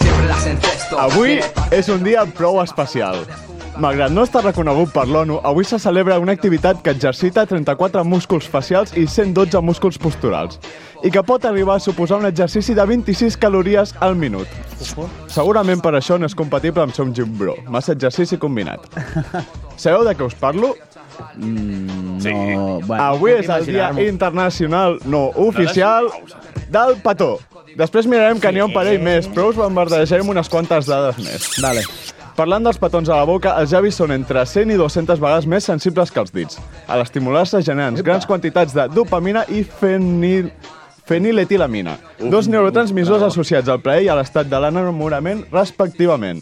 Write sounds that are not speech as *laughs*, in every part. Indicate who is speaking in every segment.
Speaker 1: Siempre las encesto.
Speaker 2: Avui és un dia prou especial. Malgrat no estar reconegut per l'ONU, avui se celebra una activitat que exercita 34 músculs facials i 112 músculs posturals i que pot arribar a suposar un exercici de 26 calories al minut. Segurament per això no és compatible amb ser un gym bro. Massa exercici combinat. Sabeu de què us parlo?
Speaker 3: No, bueno,
Speaker 2: Avui és el dia internacional no oficial del petó. Després mirarem que n'hi ha un parell més, però us bombardejarem unes quantes dades més.
Speaker 3: Vale.
Speaker 2: Parlant dels petons a la boca, els llavis són entre 100 i 200 vegades més sensibles que els dits. A l'estimular-se generen grans quantitats de dopamina i fenil feniletilamina, dos neurotransmissors associats al plaer i a l'estat de l'enamorament respectivament.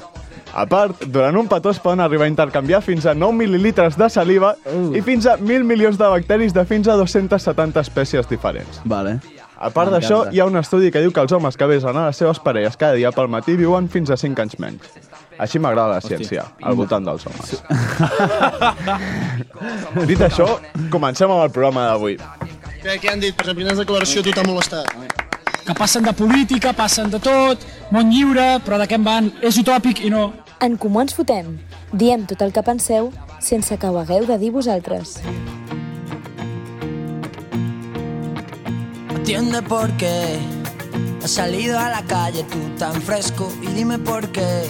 Speaker 2: A part, durant un petó es poden arribar a intercanviar fins a 9 mil·lilitres de saliva i fins a 1.000 milions de bacteris de fins a 270 espècies diferents.
Speaker 3: Vale.
Speaker 2: A part d'això, hi ha un estudi que diu que els homes que besen a les seves parelles cada dia pel matí viuen fins a 5 anys menys. Així m'agrada la ciència, al voltant dels homes. *laughs* Dit això, comencem amb el programa d'avui.
Speaker 4: Què, què han dit? Per exemple, quines declaració a tu t'ha molestat?
Speaker 5: que passen de política, passen de tot, món lliure, però de què en van? És utòpic i no.
Speaker 6: En Comú Ens Fotem. Diem tot el que penseu sense que ho hagueu de dir vosaltres.
Speaker 7: Entiende por qué has salido a la calle tú tan fresco y dime por qué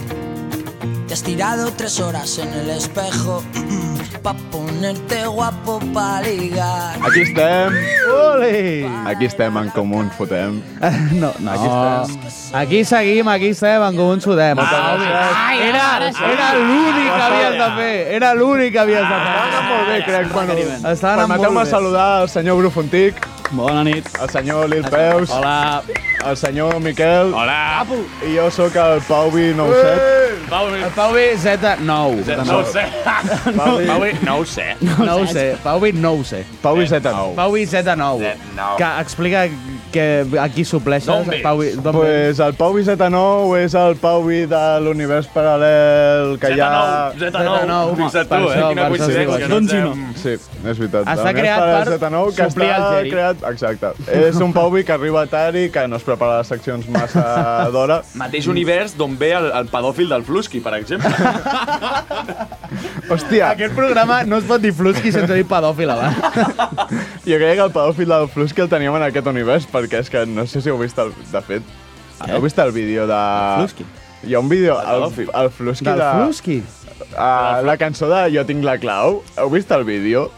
Speaker 7: te has tirado tres horas en el espejo *clears throat* pa ponerte guapo pa ligar.
Speaker 2: Aquí estem! Ole! Aquí estem, en comú ens fotem.
Speaker 3: No, no. Aquí,
Speaker 2: Ah.
Speaker 3: aquí seguim, aquí estem, en Comú ens Sudem.
Speaker 2: gràcies.
Speaker 3: Era, era l'únic que havies de fer. Era l'únic que havies de
Speaker 2: Està anant molt bé, crec, Manu.
Speaker 3: Està anant molt
Speaker 2: Permeteu-me
Speaker 3: bé.
Speaker 2: saludar el senyor Brufontic,
Speaker 3: fer. Bona nit.
Speaker 2: el senyor Lil Peus,
Speaker 8: Hola.
Speaker 2: el senyor Miquel,
Speaker 8: Hola.
Speaker 2: i jo sóc el Pauvi 97.
Speaker 3: El Pau B, Z, 9.
Speaker 8: No ho sé. *laughs* Eh. Paui, no ho sé.
Speaker 3: No ho sé. Pau B, no ho sé.
Speaker 2: Pauvi 79.
Speaker 3: Pau B, Z, 9.
Speaker 8: nou.
Speaker 3: Que explica que aquí supleixes.
Speaker 8: D'on vens?
Speaker 3: Pau B, d'on vens?
Speaker 2: Pues el Pauvi Z9 és el Pauvi de l'univers paral·lel que hi ha...
Speaker 3: Z9,
Speaker 8: Fixa't
Speaker 3: home,
Speaker 8: tu,
Speaker 3: per
Speaker 8: eh?
Speaker 3: això-
Speaker 8: Quina
Speaker 3: per això
Speaker 8: coincidència.
Speaker 3: diuen.
Speaker 8: no
Speaker 5: Doncs
Speaker 8: ens
Speaker 5: i
Speaker 8: hem-
Speaker 2: Sí, és veritat.
Speaker 3: Està
Speaker 2: El univers
Speaker 3: creat
Speaker 2: paral·lel
Speaker 3: per
Speaker 2: Z9, que
Speaker 3: suplir
Speaker 2: està
Speaker 3: el Geri.
Speaker 2: creat... Exacte. És un Pauvi que arriba tard i que no es prepara les seccions massa d'hora.
Speaker 8: Mateix univers d'on ve el, el pedòfil del Flusky, per exemple.
Speaker 2: Hòstia,
Speaker 3: Aquest programa no es pot dir flusqui sense dir pedòfil abans.
Speaker 2: jo crec que el pedòfil del Flux que el teníem en aquest univers, perquè és que no sé si heu vist, el, de fet, heu vist el vídeo de...
Speaker 3: Eh? Flusky?
Speaker 2: Hi ha un vídeo, el, el Flusky
Speaker 3: Del
Speaker 2: de...
Speaker 3: flusqui?
Speaker 2: Ah, la cançó de Jo tinc la clau, heu vist el vídeo?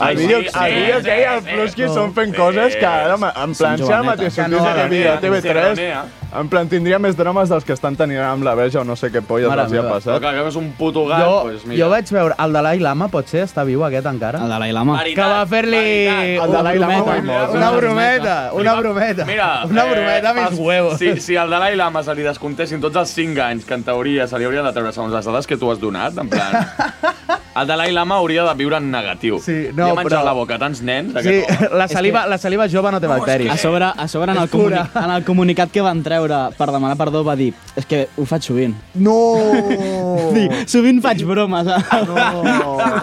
Speaker 2: el
Speaker 8: sí,
Speaker 2: vídeo,
Speaker 8: sí,
Speaker 2: el
Speaker 8: sí,
Speaker 2: vídeo
Speaker 8: sí,
Speaker 2: que hi ha al
Speaker 8: sí.
Speaker 2: Flusky són fent coses que ara, ma- en plan, si ara mateix
Speaker 3: Que no,
Speaker 2: sortís aquest vídeo a
Speaker 8: no, no, no,
Speaker 2: TV3,
Speaker 8: no,
Speaker 2: en plan, tindria més drames dels que estan tenint ara amb la verge o no sé què polles
Speaker 3: Mare
Speaker 2: els hi ha
Speaker 3: meva.
Speaker 8: Però
Speaker 2: passat.
Speaker 8: que és un puto gat,
Speaker 3: Jo,
Speaker 8: doncs pues mira.
Speaker 3: jo vaig veure el Dalai Lama, potser està viu aquest encara?
Speaker 9: El Dalai Lama.
Speaker 8: Veritat,
Speaker 3: Que va fer-li
Speaker 8: veritat.
Speaker 2: El Dalai Lama
Speaker 3: brometa.
Speaker 2: molt mort.
Speaker 3: una brometa, una brometa.
Speaker 8: Mira, eh,
Speaker 3: una brometa
Speaker 8: els-
Speaker 3: més huevos.
Speaker 8: Si, si al Dalai Lama se li descomptessin tots els 5 anys que en teoria se li haurien de treure segons les dades que tu has donat,
Speaker 3: *laughs*
Speaker 8: en plan... El Dalai Lama hauria de viure en negatiu.
Speaker 3: Sí, no,
Speaker 8: Li ha menjat
Speaker 3: però-
Speaker 8: la boca a tants nens,
Speaker 3: Sí, *laughs*
Speaker 8: aquest home.
Speaker 3: la saliva, la saliva jove no té
Speaker 9: A
Speaker 3: bacteris.
Speaker 9: sobre, a sobre en, el comuni-
Speaker 3: Pura.
Speaker 9: en el comunicat que van treure per demanar perdó va dir és que ho faig sovint. *laughs*
Speaker 3: No! Ah,
Speaker 9: Dir, sovint faig bromes. No,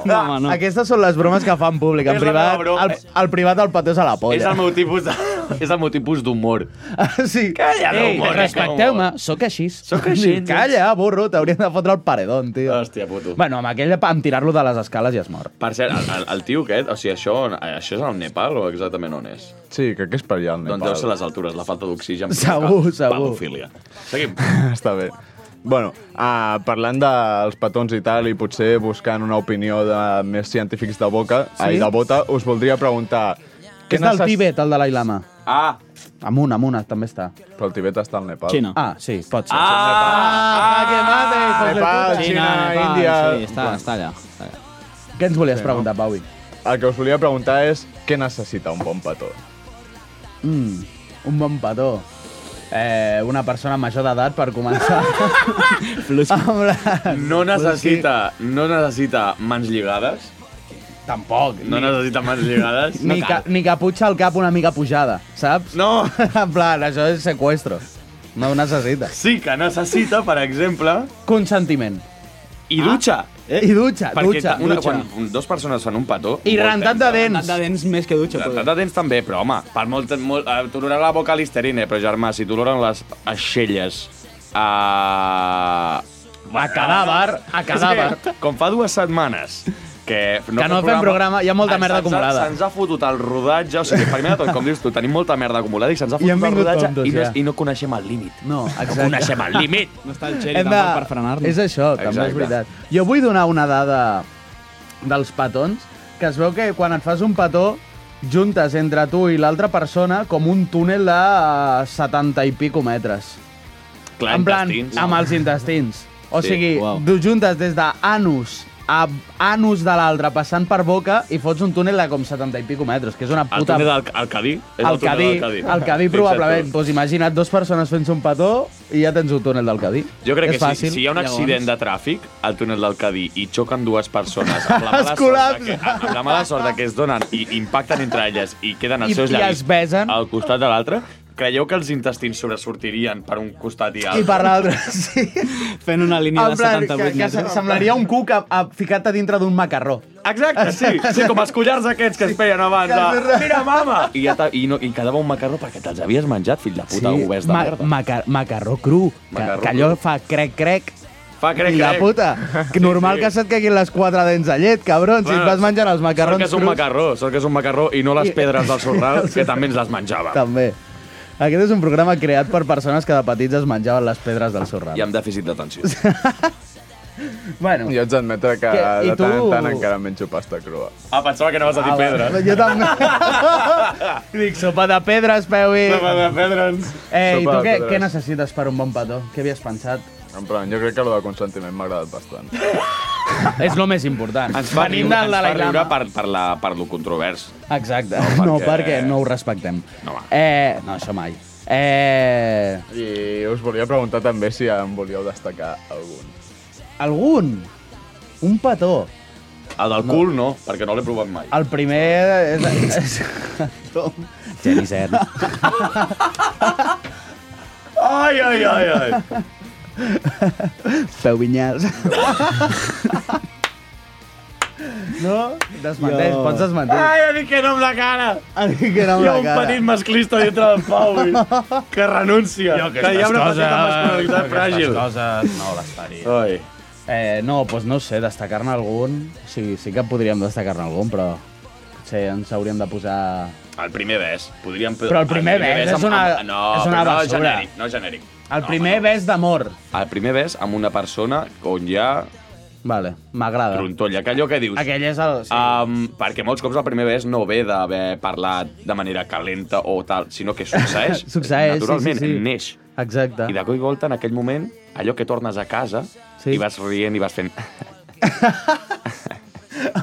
Speaker 9: no, home, no.
Speaker 3: Aquestes són les bromes que fan públic. En
Speaker 8: És la
Speaker 3: privat,
Speaker 8: meva broma.
Speaker 3: el, el privat del pató és a la
Speaker 8: És
Speaker 3: polla.
Speaker 8: el meu tipus de... *laughs* és el meu tipus d'humor.
Speaker 3: *laughs* Sí.
Speaker 8: Calla, no,
Speaker 3: Ei,
Speaker 8: humor,
Speaker 3: respecteu-me, sóc així.
Speaker 8: Sóc així.
Speaker 3: Calla, burro, t'haurien de fotre el paredón, tio.
Speaker 8: Hòstia, puto.
Speaker 3: Bueno, amb aquell, amb tirar-lo de les escales ja es mor.
Speaker 8: Per cert, el, el, el tio aquest, o sigui, això, això és al Nepal o exactament on és?
Speaker 2: Sí, crec que és per allà el
Speaker 8: Doncs deu ser
Speaker 2: Nepal.
Speaker 8: les altures, la falta d'oxigen.
Speaker 3: Segur,
Speaker 8: provoca
Speaker 3: segur.
Speaker 8: Pedofília. Seguim.
Speaker 2: *laughs* Està bé. Bueno, uh, parlant dels petons i tal, i potser buscant una opinió de més científics de boca, sí? ai, de bota, us voldria preguntar...
Speaker 3: És del
Speaker 2: necess-
Speaker 3: Tibet, el Dalai Lama.
Speaker 8: Ah!
Speaker 3: Amunt, amunt, també està.
Speaker 2: Però el Tibet està al Nepal.
Speaker 9: Xina.
Speaker 3: Ah, sí, pot ser.
Speaker 8: Ah!
Speaker 3: que mate, hijos de
Speaker 2: Nepal,
Speaker 3: puta.
Speaker 2: Xina, Índia...
Speaker 9: Sí, està, està allà. Està allà.
Speaker 3: Què ens volies preguntar, Pauvi?
Speaker 2: El que us volia preguntar és què necessita un bon petó?
Speaker 3: Mm, un bon petó. eh, una persona major d'edat per començar. Amb la-
Speaker 8: No necessita, no necessita mans lligades.
Speaker 3: Tampoc.
Speaker 8: No necessita mans lligades.
Speaker 3: *laughs* ni, ca, ni caputxa al cap una mica pujada, saps?
Speaker 8: No!
Speaker 3: *laughs* en plan, això és secuestro. No ho necessita.
Speaker 8: Sí que necessita, per exemple...
Speaker 3: Consentiment.
Speaker 8: I dutxa.
Speaker 3: Eh? I dutxa,
Speaker 8: Perquè
Speaker 3: dutxa.
Speaker 8: Una,
Speaker 3: dutxa.
Speaker 8: quan un- dos persones fan un petó...
Speaker 3: I
Speaker 8: molt
Speaker 3: rentat de
Speaker 8: tensa.
Speaker 3: dents.
Speaker 9: De dents més que dutxa.
Speaker 8: Rentat de dents també, però home, per molt... molt eh, t'olorarà la boca a listerine, però germà, si t'oloren les aixelles eh, a...
Speaker 3: A cadàver, a cadàver.
Speaker 8: És que, Com fa dues setmanes que no,
Speaker 3: Que no fem programa, hi ha molta
Speaker 8: ens-
Speaker 3: merda
Speaker 8: se'ns ha-
Speaker 3: acumulada.
Speaker 8: Se'ns ha fotut el rodatge, o sigui, primer de tot, com dius tu, tenim molta merda acumulada i se'ns ha
Speaker 3: I hem
Speaker 8: fotut el
Speaker 3: vingut
Speaker 8: rodatge
Speaker 3: tontos,
Speaker 8: i, no,
Speaker 3: ja.
Speaker 8: i no coneixem el límit.
Speaker 3: No,
Speaker 8: No coneixem el límit.
Speaker 9: No està el xeri
Speaker 3: Hem
Speaker 9: tampoc per frenar-lo.
Speaker 3: És això, també
Speaker 8: Exacte.
Speaker 3: és veritat. Jo vull donar una dada dels petons, que es veu que quan et fas un petó, juntes entre tu i l'altra persona com un túnel de eh, 70 i pico metres.
Speaker 8: Clar,
Speaker 3: en plan,
Speaker 8: intestins.
Speaker 3: amb els intestins. O
Speaker 8: Sí,
Speaker 3: sigui,
Speaker 9: uau.
Speaker 3: tu juntes des d'anus a anus de l'altre, passant per boca, i fots un túnel de com 70 i pico metres, que és una
Speaker 8: El
Speaker 3: puta...
Speaker 8: túnel del el Cadí. És
Speaker 3: El cadí,
Speaker 8: túnel del
Speaker 3: el cadí
Speaker 8: Fixa't
Speaker 3: probablement.
Speaker 8: tu.
Speaker 3: Doncs imagina't dues persones fent-se un petó i ja tens un túnel del cadí.
Speaker 8: Jo crec
Speaker 3: és
Speaker 8: que si,
Speaker 3: fàcil.
Speaker 8: si hi ha un accident de tràfic al túnel del Cadí i xoquen dues persones amb la
Speaker 3: Es
Speaker 8: mala, sort
Speaker 3: col·lapsa.
Speaker 8: de que, amb la mala sort de que es donen i impacten entre elles i queden els
Speaker 3: I-
Speaker 8: seus
Speaker 3: i
Speaker 8: llavis
Speaker 3: es besen.
Speaker 8: al costat de l'altre, creieu que els intestins sobresortirien per un costat i
Speaker 3: I
Speaker 8: altre?
Speaker 3: per l'altre, *laughs* sí.
Speaker 9: Fent una línia
Speaker 3: En
Speaker 9: de
Speaker 3: plan,
Speaker 9: 78
Speaker 3: que, que se-
Speaker 9: metres.
Speaker 3: semblaria un cuc a, a ficat a dintre d'un macarró.
Speaker 8: Exacte, sí,
Speaker 3: *laughs*
Speaker 8: sí, com els collars aquests que es feien abans. De... Mira, mama! I, ja ta- i, no, I quedava un macarró perquè te'ls havies menjat, fill de puta, sí, de
Speaker 3: ma-
Speaker 8: merda.
Speaker 3: maca- macarró cru, que,
Speaker 8: Macarró
Speaker 3: que allò
Speaker 8: cru.
Speaker 3: fa crec-crec.
Speaker 8: Fa crec,
Speaker 3: I la
Speaker 8: crec. *laughs*
Speaker 3: puta. Que normal
Speaker 8: sí.
Speaker 3: que se't caiguin les quatre dents de llet, cabrons, si et vas menjant els macarrons
Speaker 8: Sort que és un
Speaker 3: crus.
Speaker 8: macarró, sort que és un macarró i no les pedres del
Speaker 3: *laughs*
Speaker 8: sorral, que també ens les menjava.
Speaker 3: També. Aquest és un programa creat per persones que de petits es menjaven les pedres del sorral.
Speaker 8: I amb dèficit d'atenció.
Speaker 3: Bueno,
Speaker 2: Jo haig d'admetre que,
Speaker 3: Què? I
Speaker 2: de tant en
Speaker 3: tu?
Speaker 2: tant encara menjo pasta crua.
Speaker 8: *laughs* Ah, pensava que anaves a dir pedra.
Speaker 3: jo també.
Speaker 8: *laughs*
Speaker 3: Dic, sopa de pedres, Peui.
Speaker 8: de pedres.
Speaker 3: Eh, I
Speaker 2: Sopa
Speaker 3: tu
Speaker 2: de
Speaker 3: què,
Speaker 2: pedres.
Speaker 3: què necessites per un bon petó? Què havies pensat?
Speaker 2: En plan, jo crec que el de consentiment m'ha agradat bastant.
Speaker 3: Ah, És lo més important.
Speaker 8: Ens fa riure,
Speaker 3: del
Speaker 8: ens fa
Speaker 3: Dalai
Speaker 8: riure
Speaker 3: Lama.
Speaker 8: per, per, la, per lo controvers.
Speaker 3: Exacte.
Speaker 8: No,
Speaker 3: No, perquè
Speaker 8: perquè-
Speaker 3: no ho respectem.
Speaker 8: No, va.
Speaker 3: eh, no això mai. Eh,
Speaker 2: I us volia preguntar també si en volíeu destacar algun.
Speaker 3: algun? Un petó.
Speaker 8: El del cul no, perquè no l'he provat mai.
Speaker 3: El primer és... és... Geni cert.
Speaker 8: Ai, ai, ai, ai.
Speaker 3: Peu vinyals. No? Desmenteix,
Speaker 9: Jo.
Speaker 3: pots desmentir.
Speaker 8: Ai, ha dit que no amb la cara.
Speaker 3: A mi que no
Speaker 8: Hi
Speaker 3: amb
Speaker 8: ha
Speaker 3: la
Speaker 8: un
Speaker 3: cara.
Speaker 8: petit masclista dintre del Pau que renuncia. que hi ha una petita masculinitat fràgil.
Speaker 3: coses no les faria.
Speaker 8: Ai.
Speaker 3: Eh, no, doncs no ho sé, destacar-ne algun... O sigui, sí que podríem destacar-ne algun, però... Potser ens hauríem de posar...
Speaker 8: El primer bes. Podríem...
Speaker 3: Però el primer bes és
Speaker 8: amb-
Speaker 3: una-
Speaker 8: amb- No,
Speaker 3: és una
Speaker 8: però no
Speaker 3: basura.
Speaker 8: genèric, no genèric.
Speaker 3: El
Speaker 8: No,
Speaker 3: primer
Speaker 8: home,
Speaker 3: bes d'amor.
Speaker 8: no. El primer bes amb una persona on hi ha
Speaker 3: Vale, m'agrada.
Speaker 8: trontolla. Que allò que dius...
Speaker 3: Aquell és el... Sí.
Speaker 8: Um, perquè molts cops el primer bes no ve d'haver parlat de manera calenta o tal, sinó que succeeix,
Speaker 3: *laughs* Succeeix, sí,
Speaker 8: naturalment,
Speaker 3: sí, sí. Ah.
Speaker 8: neix.
Speaker 3: Exacte.
Speaker 8: I de cop i volta, en aquell moment, allò que tornes a casa
Speaker 3: Sí.
Speaker 8: sí. i vas rient i vas fent...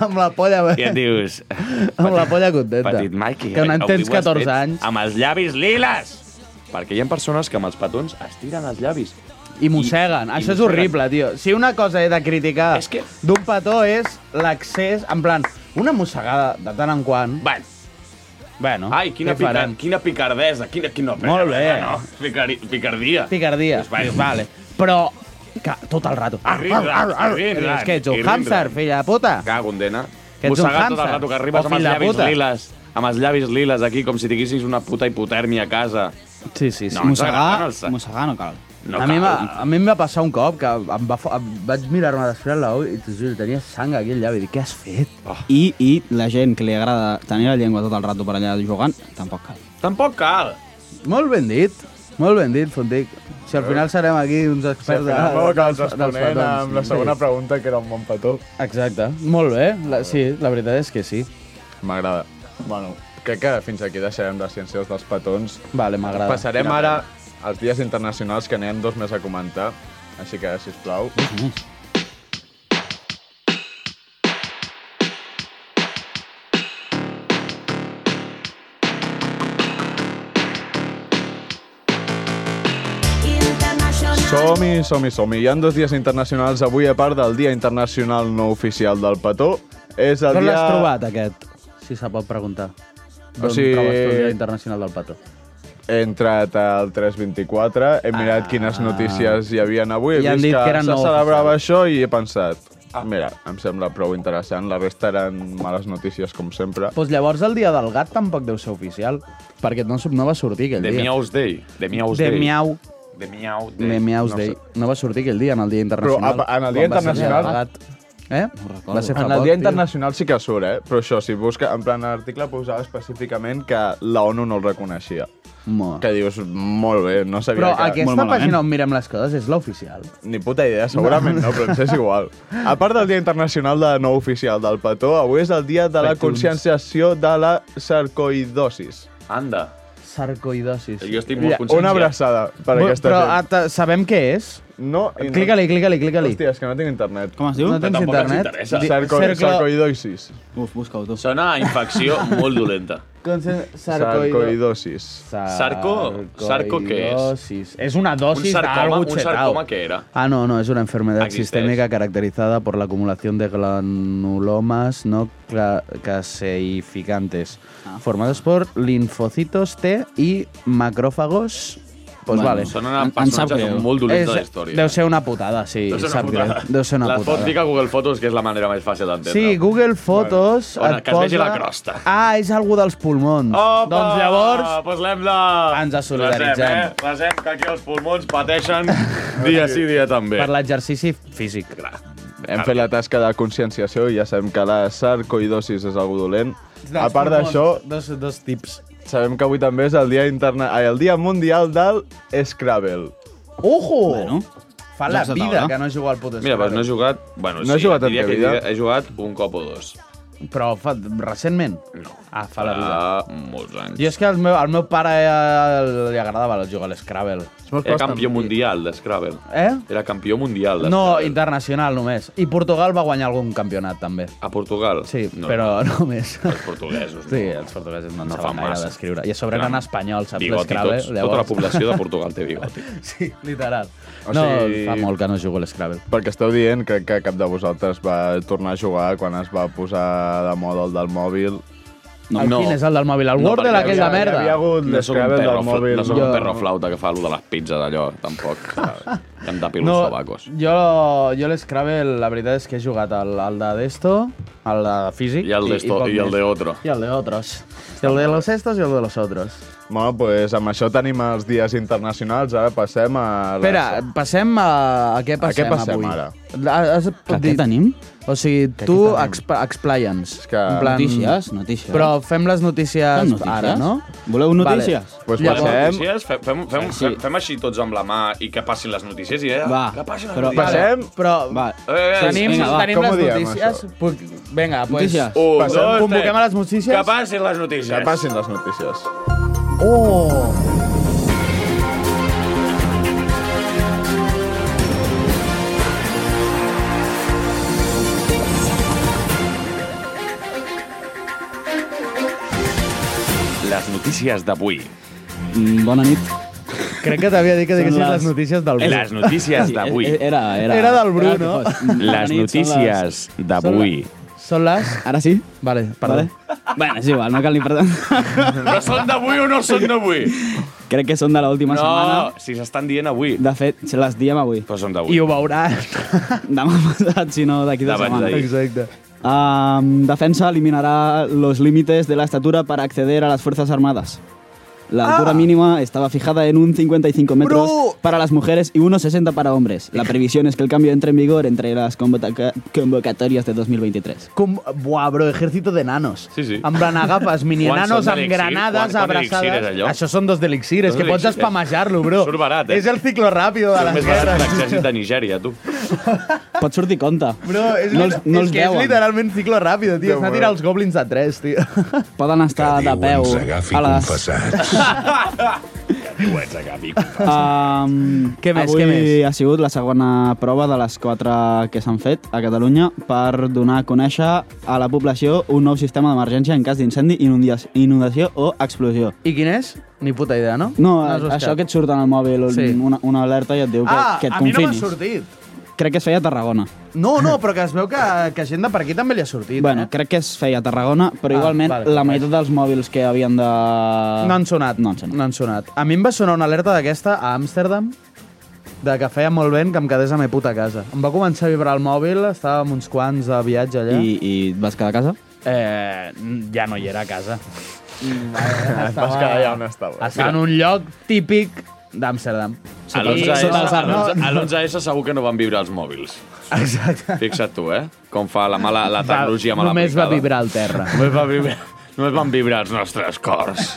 Speaker 3: Amb la polla...
Speaker 8: I et dius...
Speaker 3: *laughs* Amb la polla contenta.
Speaker 8: Petit Mikey,
Speaker 3: Que no en
Speaker 8: avui
Speaker 3: tens
Speaker 8: ho has
Speaker 3: 14
Speaker 8: fet
Speaker 3: anys.
Speaker 8: Amb els llavis liles! Perquè hi ha persones que amb els petons es tiren els llavis.
Speaker 3: I mosseguen.
Speaker 8: I- i
Speaker 3: Això és
Speaker 8: mosseguen.
Speaker 3: horrible, tio. Si una cosa he de criticar
Speaker 8: És que-
Speaker 3: d'un petó és l'accés... En plan, una mossegada de tant en quant...
Speaker 8: Bueno,
Speaker 3: Bueno,
Speaker 8: ai, quina,
Speaker 3: què
Speaker 8: pica,
Speaker 3: farem?
Speaker 8: quina picardesa, quina, quina...
Speaker 3: Molt bé.
Speaker 8: No, picari, picardia.
Speaker 3: Picardia.
Speaker 8: Dius, vale.
Speaker 3: vale. Però que tot el rato. Ar, ar, ar, ar.
Speaker 8: I rindran,
Speaker 3: És que ets
Speaker 8: i
Speaker 3: un
Speaker 8: rindran.
Speaker 3: hàmster, filla de puta.
Speaker 8: Cago en dena.
Speaker 3: Que ets un
Speaker 8: Mossegar tot el
Speaker 3: hàmster.
Speaker 8: rato que arribes
Speaker 3: O
Speaker 8: amb els
Speaker 3: fill de
Speaker 8: llavis
Speaker 3: puta.
Speaker 8: liles. Amb els llavis liles aquí, com si tinguessis una puta hipotèrmia a casa.
Speaker 3: Sí, sí, sí.
Speaker 8: No, ens agrada,
Speaker 9: Mossegar,
Speaker 8: no el sac.
Speaker 9: mossegar no cal.
Speaker 8: No
Speaker 3: a, mi
Speaker 8: cal.
Speaker 3: va, a mi em va passar un cop que em va, fo- em vaig mirar-me després la ull i t'ho juro, tenia sang aquí al llavi. Dic, què has fet?
Speaker 9: I, I la gent que li agrada tenir la llengua tot el rato per allà jugant, tampoc cal.
Speaker 8: Tampoc cal.
Speaker 3: Molt ben dit. Molt ben dit, Fontic. Si al final serem aquí uns
Speaker 2: Si al
Speaker 3: experts de,
Speaker 2: final m'ho acabes
Speaker 3: dels- dels
Speaker 2: responent
Speaker 3: petons.
Speaker 2: amb la segona
Speaker 3: Sí.
Speaker 2: pregunta, que era un bon petó.
Speaker 3: Exacte. Molt bé. La, sí, la veritat és que sí.
Speaker 2: M'agrada. Bueno, crec que fins aquí deixarem les ciències dels petons.
Speaker 3: Vale, m'agrada.
Speaker 2: Passarem ara als dies internacionals, que n'hi ha dos més a comentar. Així que, sisplau... Som-hi, som-hi, som-hi. Hi ha dos dies internacionals avui, a part del Dia Internacional No Oficial del Petó. És el
Speaker 3: Com
Speaker 2: dia...
Speaker 3: l'has trobat, aquest? Si se pot preguntar. Doncs
Speaker 2: O
Speaker 3: D'on
Speaker 2: sigui-
Speaker 3: trobes tu el Dia Internacional del Patró?
Speaker 2: He entrat al 324, he mirat ah. quines notícies hi havien avui,
Speaker 3: I
Speaker 2: he
Speaker 3: han
Speaker 2: vist
Speaker 3: dit
Speaker 2: que,
Speaker 3: que eren
Speaker 2: se
Speaker 3: no
Speaker 2: celebrava això i he pensat, ah. mira, em sembla prou interessant, la resta eren males notícies com sempre.
Speaker 3: Doncs pues llavors el dia del gat tampoc deu ser oficial, perquè no, no va sortir aquell
Speaker 8: De
Speaker 3: dia.
Speaker 8: Meows Day. De Meows
Speaker 3: De
Speaker 8: Day.
Speaker 3: Miau.
Speaker 8: De Meow Day.
Speaker 3: De Meows
Speaker 8: No
Speaker 3: Day.
Speaker 8: sé.
Speaker 3: No va sortir aquell dia, en el Dia Internacional.
Speaker 2: Però, a- en el Dia
Speaker 3: Quan va ser
Speaker 2: Internacional-
Speaker 3: del Gat. Eh? No
Speaker 2: En
Speaker 3: va ser fa
Speaker 2: el
Speaker 3: poc,
Speaker 2: Dia
Speaker 3: tio.
Speaker 2: Internacional sí que surt, eh? Però això, si busca, en plan, l'article posava específicament que la ONU no el reconeixia.
Speaker 3: Mo.
Speaker 2: Que dius, molt bé, no sabia
Speaker 3: Ah. Però
Speaker 2: que...
Speaker 3: aquesta pàgina on mirem les coses és l'oficial.
Speaker 2: Ni puta idea, segurament no, però ens és igual. A part del Dia Internacional de No Oficial del Petó, avui és el dia de la
Speaker 3: iTunes.
Speaker 2: conscienciació de la sarcoidosis.
Speaker 8: Anda.
Speaker 3: Sarcoidosis.
Speaker 8: Jo estic molt
Speaker 2: Mira,
Speaker 8: conscient.
Speaker 2: Una abraçada per
Speaker 3: Bo-
Speaker 2: aquesta
Speaker 3: Però
Speaker 2: gent.
Speaker 3: ata- sabem què és?
Speaker 2: No, i no.
Speaker 3: Clica-li, clica-li, clica-li.
Speaker 2: Hòstia, és que no tinc internet.
Speaker 9: Com es diu?
Speaker 3: No tens
Speaker 8: tampoc ens
Speaker 3: internet?
Speaker 8: interessa.
Speaker 3: Di-
Speaker 2: Sarco
Speaker 3: cerclo-
Speaker 2: Sarcoidosis.
Speaker 9: Uf, busca-ho tu.
Speaker 8: Sona a
Speaker 3: *laughs*
Speaker 8: infecció molt dolenta.
Speaker 3: Conce- Sarcoido...
Speaker 2: Sarcoidosis.
Speaker 8: Sarco- sarco què és?
Speaker 3: Sarcoidosis. És una
Speaker 8: Un
Speaker 3: dosis
Speaker 8: sarcoma,
Speaker 3: d'algú
Speaker 8: un sarcoma què era?
Speaker 3: Ah, no, no, es una enfermedad
Speaker 8: Existeix.
Speaker 3: sistémica caracterizada por la acumulación de granulomas no cla- caseificantes, formados por linfocitos T y macrófagos. Pues
Speaker 9: Bueno,
Speaker 3: vale.
Speaker 8: Són una
Speaker 9: Em- em sap
Speaker 8: personatge
Speaker 9: greu.
Speaker 8: molt
Speaker 3: Es-
Speaker 8: dolenta de la història.
Speaker 3: deu ser una putada, sí.
Speaker 8: Deu ser una
Speaker 3: sap greu.
Speaker 8: putada.
Speaker 3: Deu ser una
Speaker 8: Les
Speaker 3: putada.
Speaker 8: pots ficar a Google Fotos, que és la manera més fàcil d'entendre.
Speaker 3: eh. Sí, Google Fotos
Speaker 8: Bueno,
Speaker 3: et
Speaker 8: que es vegi
Speaker 3: posa-
Speaker 8: la crosta.
Speaker 3: Ah, és algú dels pulmons.
Speaker 8: Opa!
Speaker 3: Doncs llavors,
Speaker 8: Parlem de...
Speaker 3: Ens solidaritzem.
Speaker 8: Resem, eh? Resem que aquí els
Speaker 3: *laughs*
Speaker 8: pulmons pateixen dia sí, dia també.
Speaker 3: per l'exercici físic.
Speaker 2: Hem fet la tasca de conscienciació i ja sabem que la sarcoidosis és algo dolent. A part d'això,
Speaker 3: Dos, dos tips.
Speaker 2: sabem que avui també és el dia, interna... ai, el dia mundial del Scrabble.
Speaker 3: Ojo!
Speaker 9: Bueno,
Speaker 3: Fa
Speaker 9: ja
Speaker 3: la
Speaker 9: has de
Speaker 3: vida
Speaker 9: taula.
Speaker 3: que no jugo al puto
Speaker 8: Mira,
Speaker 3: Scrabble.
Speaker 8: però no he jugat... Bueno,
Speaker 2: No
Speaker 8: sí,
Speaker 2: has jugat en
Speaker 8: diria
Speaker 2: teva
Speaker 8: que
Speaker 2: vida?
Speaker 8: He jugat un cop o dos.
Speaker 3: Però fa, recentment?
Speaker 8: No.
Speaker 3: Ah, fa la vida.
Speaker 8: Fa molts anys.
Speaker 3: Jo és que al meu, al meu pare eh, li agradava el jugar a l'Scrabble.
Speaker 8: Era campió mundial de Scrabble.
Speaker 3: Eh?
Speaker 8: Era campió mundial de
Speaker 3: No,
Speaker 8: Scrabble.
Speaker 3: internacional només. I Portugal va guanyar algun campionat, també.
Speaker 8: A Portugal?
Speaker 3: Sí,
Speaker 8: no,
Speaker 3: però *laughs* només.
Speaker 8: Els portuguesos, no.
Speaker 3: Sí, els portuguesos no en
Speaker 8: No fa
Speaker 3: saben gaire
Speaker 8: massa.
Speaker 3: d'escriure. I a sobre
Speaker 8: Clar.
Speaker 3: eren espanyol, saps
Speaker 8: Bigoti,
Speaker 3: l'Scrabble?
Speaker 8: tots, tota la població de Portugal té bigoti.
Speaker 3: Sí, literal.
Speaker 2: O
Speaker 3: No,
Speaker 2: sigui-
Speaker 3: fa molt que no jugo a l'Scrabble.
Speaker 2: Perquè esteu dient, crec que cap de vosaltres va tornar a jugar quan es va posar de moda el del mòbil.
Speaker 3: *laughs* No, el quin és el del mòbil? El
Speaker 8: No,
Speaker 3: Word de
Speaker 8: perquè
Speaker 3: aquell de
Speaker 8: havia-
Speaker 3: merda?
Speaker 2: Hi havia hagut
Speaker 8: No sóc un
Speaker 2: l'Scrabble
Speaker 8: perro,
Speaker 2: del mòbil.
Speaker 8: no sóc
Speaker 3: Jo-
Speaker 8: un perro flauta que fa lo de les pizzas allò,
Speaker 3: *laughs*
Speaker 8: tampoc. que em tapilo no. els tabacos.
Speaker 3: jo, jo l'Scrabble, la veritat és que he jugat al, al de Desto, al de físic...
Speaker 8: I el d'esto,
Speaker 3: poc
Speaker 8: i el
Speaker 3: més.
Speaker 8: de otro.
Speaker 3: I el de otros. I el de los estos i el de los otros.
Speaker 2: Bueno, doncs pues, amb això tenim els dies internacionals, ara passem a... la-
Speaker 3: Espera, passem a, a
Speaker 2: A
Speaker 3: què
Speaker 2: què
Speaker 3: passem,
Speaker 2: passem
Speaker 3: avui.
Speaker 2: ara?
Speaker 3: A- Has,
Speaker 9: Que
Speaker 3: dit-
Speaker 9: què tenim?
Speaker 3: O sigui, tu exp explaia'ns.
Speaker 2: És que-
Speaker 3: En plan,
Speaker 9: Notícies, notícies.
Speaker 3: Però fem les notícies,
Speaker 9: Fem notícies?
Speaker 3: ara, no?
Speaker 9: Voleu notícies?
Speaker 3: Vale.
Speaker 2: Pues
Speaker 3: Llavors-
Speaker 2: passem,
Speaker 8: Notícies, fem, fem, fem, fem, fem així tots amb la mà i que passin les notícies i eh,
Speaker 9: Va,
Speaker 8: que passin les
Speaker 9: però-
Speaker 8: notícies.
Speaker 2: passem,
Speaker 3: Però
Speaker 9: Va.
Speaker 8: Eh, eh,
Speaker 3: tenim,
Speaker 9: vinga, va,
Speaker 3: tenim
Speaker 2: com ho
Speaker 3: les
Speaker 2: diem,
Speaker 3: notícies.
Speaker 2: això?
Speaker 3: Puc... Vinga, pues...
Speaker 9: Notícies.
Speaker 8: Un,
Speaker 2: Passem.
Speaker 8: dos,
Speaker 3: Convoquem
Speaker 8: tres.
Speaker 3: a les notícies?
Speaker 8: Que passin les notícies.
Speaker 2: que passin les notícies.
Speaker 8: Les notícies d'avui.
Speaker 9: Mm, Bona nit.
Speaker 3: Crec que t'havia dit que diguessis
Speaker 9: les- e-,
Speaker 3: les... notícies del Bruno.
Speaker 8: Les notícies d'avui.
Speaker 9: Era, era,
Speaker 3: Era del Bruno.
Speaker 9: era tipus, bona
Speaker 8: Les
Speaker 9: eh, nit, són les-
Speaker 8: notícies d'avui.
Speaker 3: Són les...
Speaker 9: Ara sí?
Speaker 3: Vale, perdó. Vale.
Speaker 9: Bueno, és igual, no cal ni perdó.
Speaker 8: No són d'avui o no són
Speaker 9: *laughs*
Speaker 8: d'avui?
Speaker 9: Crec que són de l'última
Speaker 8: No,
Speaker 9: setmana.
Speaker 8: si s'estan dient avui.
Speaker 9: De fet, se les diem avui.
Speaker 8: Però són
Speaker 3: I
Speaker 8: d'avui.
Speaker 3: ho veuràs.
Speaker 9: *laughs* Demà passat, si no, d'aquí dues
Speaker 8: D'abans
Speaker 9: setmanes.
Speaker 8: d'ahir.
Speaker 3: Exacte.
Speaker 9: Um, defensa eliminará los límites de la estatura para acceder a las Fuerzas Armadas. La altura mínima estaba fijada en un 55 metros
Speaker 3: Ah! Bro.
Speaker 9: para las mujeres y 1,60 para hombres. La previsión es que el cambio entre en vigor entre las convoca- convocatorias de 2023.
Speaker 3: Com... Buah, bro, ejército de nanos.
Speaker 8: Sí, sí.
Speaker 3: En plan, agafes mini
Speaker 8: Quants
Speaker 3: nanos
Speaker 8: són
Speaker 3: amb
Speaker 8: d'elixir?
Speaker 3: granades
Speaker 8: Quants- quants
Speaker 3: abraçades.
Speaker 8: elixir és allò?
Speaker 3: Això són dos d'elixir, és
Speaker 8: Dos
Speaker 3: que pots
Speaker 8: elixir.
Speaker 3: espamejar-lo, bro.
Speaker 8: Surt barat, eh?
Speaker 3: És el ciclo ràpido de les
Speaker 8: Només vas a
Speaker 3: guerres.
Speaker 8: l'exèrcit de Nigèria, tu.
Speaker 9: Pot sortir compte.
Speaker 3: Bro, és,
Speaker 9: no
Speaker 3: no
Speaker 9: els, no
Speaker 3: és,
Speaker 9: els
Speaker 3: que és
Speaker 9: veuen.
Speaker 3: literalment ciclo ràpido, tio.
Speaker 2: Déu
Speaker 3: Està
Speaker 2: meu.
Speaker 3: tirant els goblins a tres, tio.
Speaker 9: Poden estar de peu a les,
Speaker 8: *laughs* Ho ets, a cap i
Speaker 9: Um,
Speaker 3: Què més,
Speaker 9: avui
Speaker 3: què més?
Speaker 9: ha sigut la segona prova de les quatre que s'han fet a Catalunya per donar a conèixer a la població un nou sistema d'emergència en cas d'incendi, inundia- inundació o explosió.
Speaker 3: *laughs* I quin és? Ni puta idea, no?
Speaker 9: No, eh,
Speaker 3: has buscat.
Speaker 9: això que et surt en el mòbil,
Speaker 3: Sí.
Speaker 9: sí. una, una alerta i et diu que,
Speaker 3: Ah,
Speaker 9: que et
Speaker 3: a mi no m'ha
Speaker 9: confinis.
Speaker 3: sortit.
Speaker 9: Crec que es feia a Tarragona.
Speaker 3: No, no, però que es veu que, que gent de per aquí també li ha sortit. eh?
Speaker 9: Bueno, crec que es feia a Tarragona,
Speaker 3: Ah,
Speaker 9: però ah, igualment
Speaker 3: vale,
Speaker 9: vale, la
Speaker 3: vale.
Speaker 9: meitat dels mòbils que havien de...
Speaker 3: No han sonat. No han sonat. No han sonat. A mi em va sonar una alerta d'aquesta a Amsterdam de que feia molt vent que em quedés a la meva puta casa. Em va començar a vibrar el mòbil, estava amb uns quants de viatge allà.
Speaker 9: I, I et vas quedar a casa?
Speaker 3: Eh, ja no hi era a casa.
Speaker 2: Vas quedar allà on estava.
Speaker 3: Estava en un lloc típic d'Amsterdam.
Speaker 8: A l'11S
Speaker 3: *laughs*
Speaker 8: a l'11S segur que no van vibrar els mòbils. Exacte. Fixa't tu, eh? Com fa la, mala, la tecnologia mal
Speaker 3: Només va
Speaker 8: aplicada.
Speaker 3: vibrar el terra.
Speaker 8: Només va vibrar... Només van vibrar els nostres cors.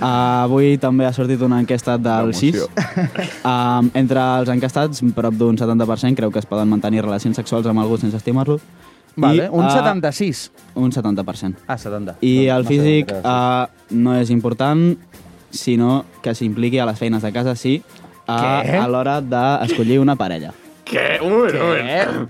Speaker 9: Uh, avui també ha sortit una enquesta del 6. *laughs* Um, entre els encastats, prop d'un 70% creu que es poden mantenir relacions sexuals amb algú sense estimar-lo.
Speaker 3: *laughs* Vale, un
Speaker 9: ah,
Speaker 3: 76.
Speaker 9: Un 70%.
Speaker 3: Ah, 70.
Speaker 9: I el
Speaker 3: no sé,
Speaker 9: físic
Speaker 3: gràcies.
Speaker 9: uh, no és important, sinó que s'impliqui a les feines de casa, sí, a,
Speaker 8: Què?
Speaker 9: ah, a l'hora d'escollir una parella.
Speaker 8: Què? Un moment, un moment.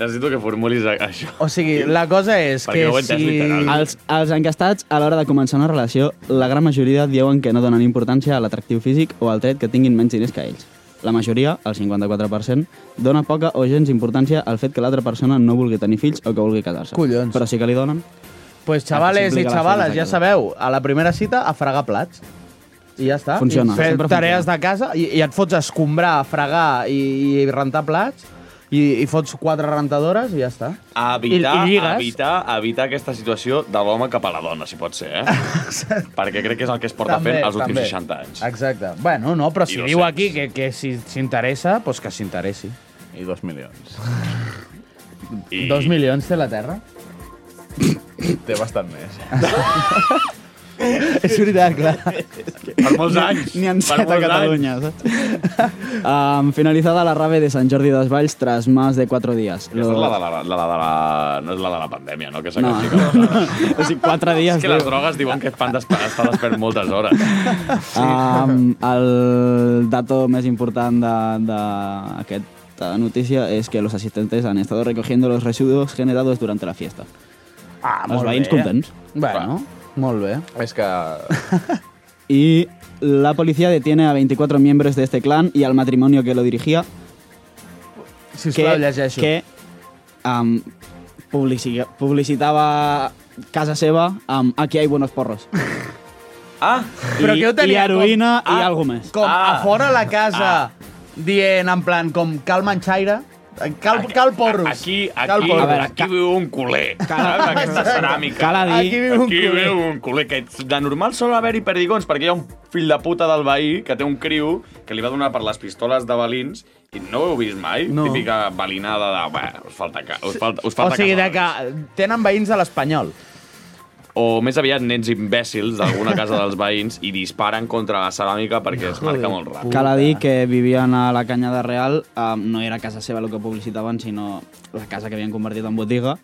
Speaker 8: Necessito que formulis a- això.
Speaker 3: O sigui, la cosa és
Speaker 8: Perquè no ho he entès literal.
Speaker 9: Els, els encastats, a l'hora de començar una relació, la gran majoria diuen que no donen importància a l'atractiu físic o al tret que tinguin menys diners que ells. La majoria, el 54%, dona poca o gens importància al fet que l'altra persona no vulgui tenir fills o que vulgui casar-se.
Speaker 3: Collons.
Speaker 9: Però sí que li donen.
Speaker 3: Pues chavales i
Speaker 9: S'implica a les
Speaker 3: chavales,
Speaker 9: feines de
Speaker 3: ja
Speaker 9: casa.
Speaker 3: sabeu, a la primera cita a fregar plats. I ja està.
Speaker 9: Funciona,
Speaker 3: I fer
Speaker 9: sempre
Speaker 3: tarees de casa i, i et fots a escombrar, a fregar i, i rentar plats i, i fots quatre rentadores i ja està.
Speaker 8: Evitar,
Speaker 3: I- i lligues.
Speaker 8: evitar, evitar aquesta situació de l'home cap a la dona, si pot ser, eh? Perquè crec que és el que es porta fent els últims 60 anys.
Speaker 3: Exacte. Bueno, no, però
Speaker 8: I
Speaker 3: si
Speaker 8: dos
Speaker 3: diu
Speaker 8: cents.
Speaker 3: aquí que, que si s'interessa, doncs que s'interessi.
Speaker 2: I dos
Speaker 9: *laughs*
Speaker 2: milions.
Speaker 8: I...
Speaker 3: Dos milions té la Terra?
Speaker 2: Té bastant més.
Speaker 9: És veritat, clar.
Speaker 8: Per molts anys.
Speaker 9: *laughs* N'hi han
Speaker 8: Per
Speaker 9: set a
Speaker 8: molts
Speaker 9: Catalunya, saps? *laughs* um, finalizada la rave de Sant Jordi dels Valls tras más de cuatro días.
Speaker 8: Aquesta és la
Speaker 9: Los...
Speaker 8: de la, la, la, de la, no és la de la pandèmia, no? Que s'ha
Speaker 9: No.
Speaker 8: no.
Speaker 9: *laughs* O sigui, quatre dies...
Speaker 8: És que les drogues diuen que et fan despe- estar despert moltes hores.
Speaker 9: *laughs* Um, el dato més important d'aquesta notícia és que los asistentes han estado recogiendo los residuos generados durante la fiesta.
Speaker 3: Ah,
Speaker 9: Els veïns contents.
Speaker 3: Bueno, molt bé.
Speaker 2: És que...
Speaker 9: Y la policía detiene a 24 miembros de este clan y al matrimonio que lo dirigía
Speaker 3: Sisplau,
Speaker 9: que,
Speaker 3: llegeixo.
Speaker 9: que um, publici publicitava casa seva amb aquí hay buenos porros.
Speaker 8: *laughs* Ah,
Speaker 3: Però
Speaker 9: I,
Speaker 3: que ho
Speaker 9: I
Speaker 3: tenia
Speaker 9: heroïna
Speaker 3: com-
Speaker 9: i
Speaker 3: ah,
Speaker 9: alguna més.
Speaker 3: Com
Speaker 8: Ah.
Speaker 3: ah. a fora la casa, dient en plan com cal manxaire, cal, cal porros.
Speaker 8: Aquí,
Speaker 3: Cal
Speaker 8: aquí,
Speaker 3: porros.
Speaker 9: A veure,
Speaker 8: aquí viu un
Speaker 9: *laughs*
Speaker 8: culer. Saps? Aquesta ceràmica.
Speaker 9: Cal a dir-
Speaker 8: Aquí
Speaker 9: Aquí
Speaker 8: viu
Speaker 3: viu
Speaker 8: un
Speaker 3: un culer.
Speaker 8: culer. que de normal sol haver-hi perdigons, perquè hi ha un fill de puta del veí que té un criu que li va donar per les pistoles de balins i no ho heu vist mai,
Speaker 3: No.
Speaker 8: típica balinada de... Bueno, us falta, ca us falta, us
Speaker 3: O
Speaker 8: falta
Speaker 3: sigui, de
Speaker 8: casar".
Speaker 3: que tenen veïns de l'Espanyol.
Speaker 8: o més aviat nens imbècils d'alguna casa dels veïns i disparen contra la ceràmica perquè es marca molt ràpid.
Speaker 9: Cal a
Speaker 3: eh.
Speaker 9: dir que vivien a la Canyada Real, um, no era casa seva el que publicitaven, sinó la casa que havien convertit en botiga.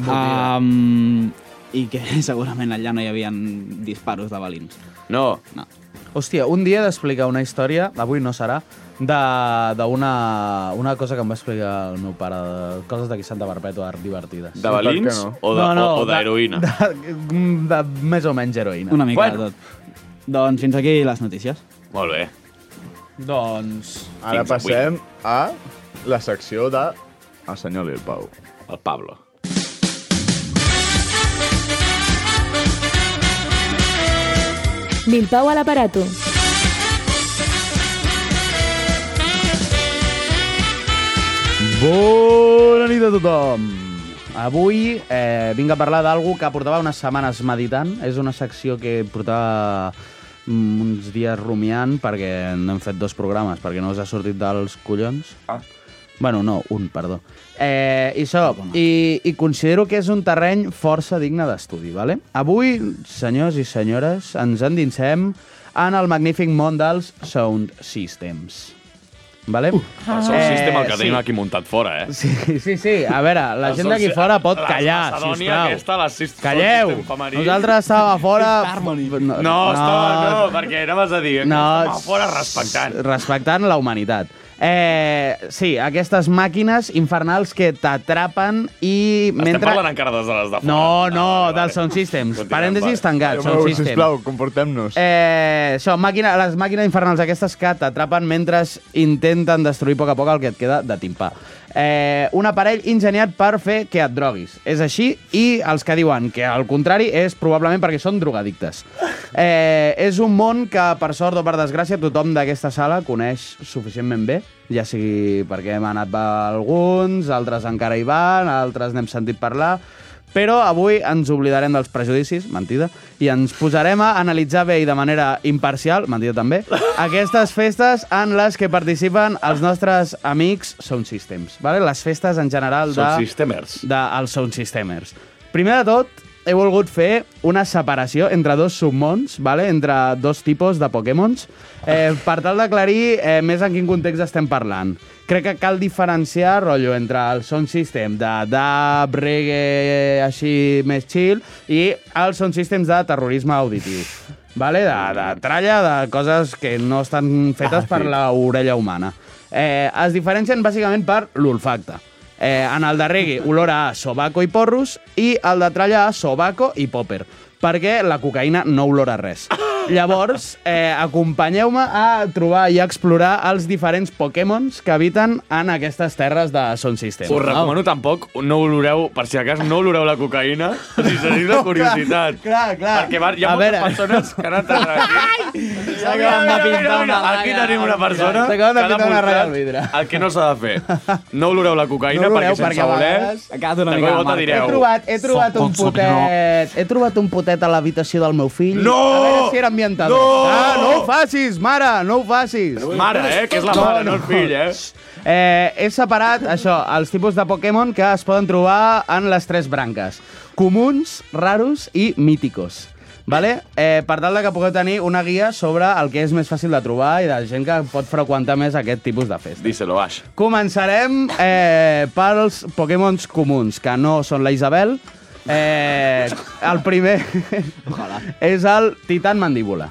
Speaker 9: Um, I que *laughs* segurament allà no hi havia disparos de balins.
Speaker 8: No,
Speaker 9: No.
Speaker 3: Hòstia, un dia he d'explicar una història, avui no serà, de- d'una una cosa que em va explicar el meu pare, de coses d'aquí Santa Perpètua divertides.
Speaker 8: de balins
Speaker 2: no?
Speaker 8: o de- o- o d'heroïna.
Speaker 3: De, de, de, més o menys heroïna.
Speaker 9: Una mica
Speaker 8: Bueno.
Speaker 9: bueno. de tot. Doncs fins aquí les notícies.
Speaker 8: Molt bé.
Speaker 3: Doncs...
Speaker 2: Ara
Speaker 8: Fins avui.
Speaker 2: passem a la secció de... El senyor Lil Pau.
Speaker 8: El Pablo.
Speaker 10: Milpau a l'aparato.
Speaker 3: Bona nit a tothom! Avui eh, vinc a parlar d'algú que portava unes setmanes meditant. És una secció que portava mm, uns dies rumiant perquè n'hem fet dos programes, perquè no us ha sortit dels collons.
Speaker 8: Ah.
Speaker 3: Bueno, no, un, perdó. Eh, I això, i, i considero que és un terreny força digne d'estudi, vale? Avui, senyors i senyores, ens endinsem en el magnífic món dels sound systems. Vale? Uh,
Speaker 8: Per sort, sistema el que tenim aquí muntat fora, eh?
Speaker 3: Sí, sí, sí. A veure, la
Speaker 8: El
Speaker 3: gent d'aquí
Speaker 8: sol-
Speaker 3: fora pot
Speaker 8: Doncs eh, la
Speaker 3: callar,
Speaker 8: Macedònia
Speaker 3: sisplau.
Speaker 8: aquesta, la sis-
Speaker 3: Calleu!
Speaker 8: sistema femení.
Speaker 3: Nosaltres estàvem a fora... No,
Speaker 8: No, estava, no, perquè anaves a dir eh, que no,
Speaker 3: No,
Speaker 8: estàvem a fora respectant.
Speaker 3: Respectant la humanitat. Eh, sí, aquestes màquines infernals que t'atrapen i
Speaker 8: Estem
Speaker 3: mentre...
Speaker 8: parlant encara des de les de fora. Ah,
Speaker 3: No, no, del Sound Systems. Parèntesis tancat, Sound
Speaker 2: Home,
Speaker 3: Systems.
Speaker 2: sisplau, comportem-nos.
Speaker 3: Ah, Eh, això, màquina, les màquines infernals aquestes que t'atrapen mentre intenten destruir a poc a poc el que et queda de timpà. Eh, un aparell enginyat per fer que et droguis. És així, i els que diuen que al contrari és probablement perquè són drogadictes. Eh, és un món que, per sort o per desgràcia, tothom d'aquesta sala coneix suficientment bé, ja sigui perquè hem anat a alguns, altres encara hi van, altres n'hem sentit parlar, però avui ens oblidarem dels prejudicis, mentida, i ens posarem a analitzar bé i de manera imparcial, mentida també, aquestes festes en les que participen els nostres amics Sound Systems. Vale? Les festes en general de...
Speaker 8: Sound Systemers.
Speaker 3: De, els Sound Systemers. Primer de tot, he volgut fer una separació entre dos submons, vale? entre dos tipus de Pokémons, eh, per tal d'aclarir eh, més en quin context estem parlant. Crec que cal diferenciar, rotllo, entre el sound system de dub, reggae, així més chill, i els sound systems de terrorisme auditiu. Vale? De, de tralla, de coses que no estan fetes per l'orella humana. Eh, es diferencien bàsicament per l'olfacte. Eh, en el de reggae, olor a sobaco i porros, i el de tralla a sobaco i popper, perquè la cocaïna no olora res. Llavors, eh, acompanyeu-me a trobar i a explorar els diferents Pokémons que habiten en aquestes terres de Sound System.
Speaker 8: Us recomano tampoc, no oloreu, per si de cas no oloreu la cocaïna, *laughs* si teniu la curiositat.
Speaker 3: Clar, clar.
Speaker 8: Perquè va, hi ha
Speaker 3: A
Speaker 8: moltes
Speaker 3: veure.
Speaker 8: persones que han entrat aquí. Mira, mira, mira, mira, aquí tenim una persona que ha
Speaker 3: S'acaben de pintar una ratlla al
Speaker 8: demostrat
Speaker 3: vidre.
Speaker 8: el que no s'ha de fer. No oloreu la cocaïna,
Speaker 3: No oloreu,
Speaker 8: perquè sense
Speaker 3: perquè a
Speaker 8: voler...
Speaker 3: vegades
Speaker 8: De
Speaker 3: acaba
Speaker 8: cop
Speaker 3: d'una
Speaker 8: i
Speaker 3: mica de
Speaker 8: volta
Speaker 3: marca. He
Speaker 8: direu...
Speaker 3: trobat, he trobat un potet... He trobat un potet a l'habitació del meu fill.
Speaker 8: No!
Speaker 3: A veure si era ambientador.
Speaker 8: No!
Speaker 3: Ah, no ho facis, mare, no ho facis.
Speaker 8: Mare, eh, que és la mare, no el fill, eh?
Speaker 3: Eh, he separat, això, els tipus de Pokémon que es poden trobar en les tres branques. Comuns, raros i míticos. Vale? Eh, per tal de que pugueu tenir una guia sobre el que és més fàcil de trobar i de gent que pot freqüentar més aquest tipus de festa.
Speaker 8: Díselo, Ash.
Speaker 3: Començarem eh, pels Pokémons comuns, que no són la Isabel. Eh, el primer *laughs* és el Titan Mandíbula.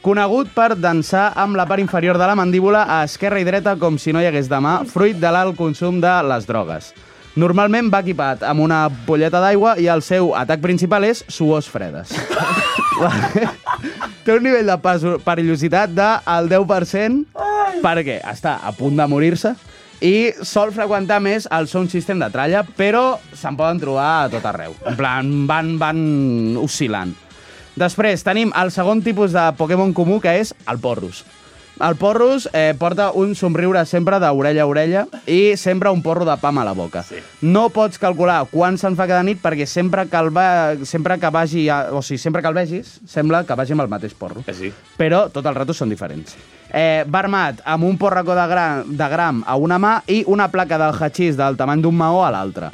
Speaker 3: Conegut per dansar amb la part inferior de la mandíbula a esquerra i dreta com si no hi hagués demà, fruit de l'alt consum de les drogues. Normalment va equipat amb una polleta d'aigua i el seu atac principal és suors fredes. Té un nivell de peso- perillositat del 10% perquè està a punt de morir-se i sol freqüentar més el sound system de tralla, però se'n poden trobar a tot arreu. En plan, van, van oscil·lant. Després tenim el segon tipus de Pokémon comú, que és el Porrus. El Porrus eh, porta un somriure sempre d'orella a orella i sempre un porro de pam a la boca. Sí. No pots calcular quan se'n fa cada nit perquè sempre que, el va, sempre que vagi a, o sigui, sempre que el vegis, sembla que vagi amb el mateix porro
Speaker 8: Eh, sí.
Speaker 3: però tot el rato són diferents. Eh, va armat amb un porracó de, gra de gram a una mà i una placa del hachís del tamany d'un maó a l'altra.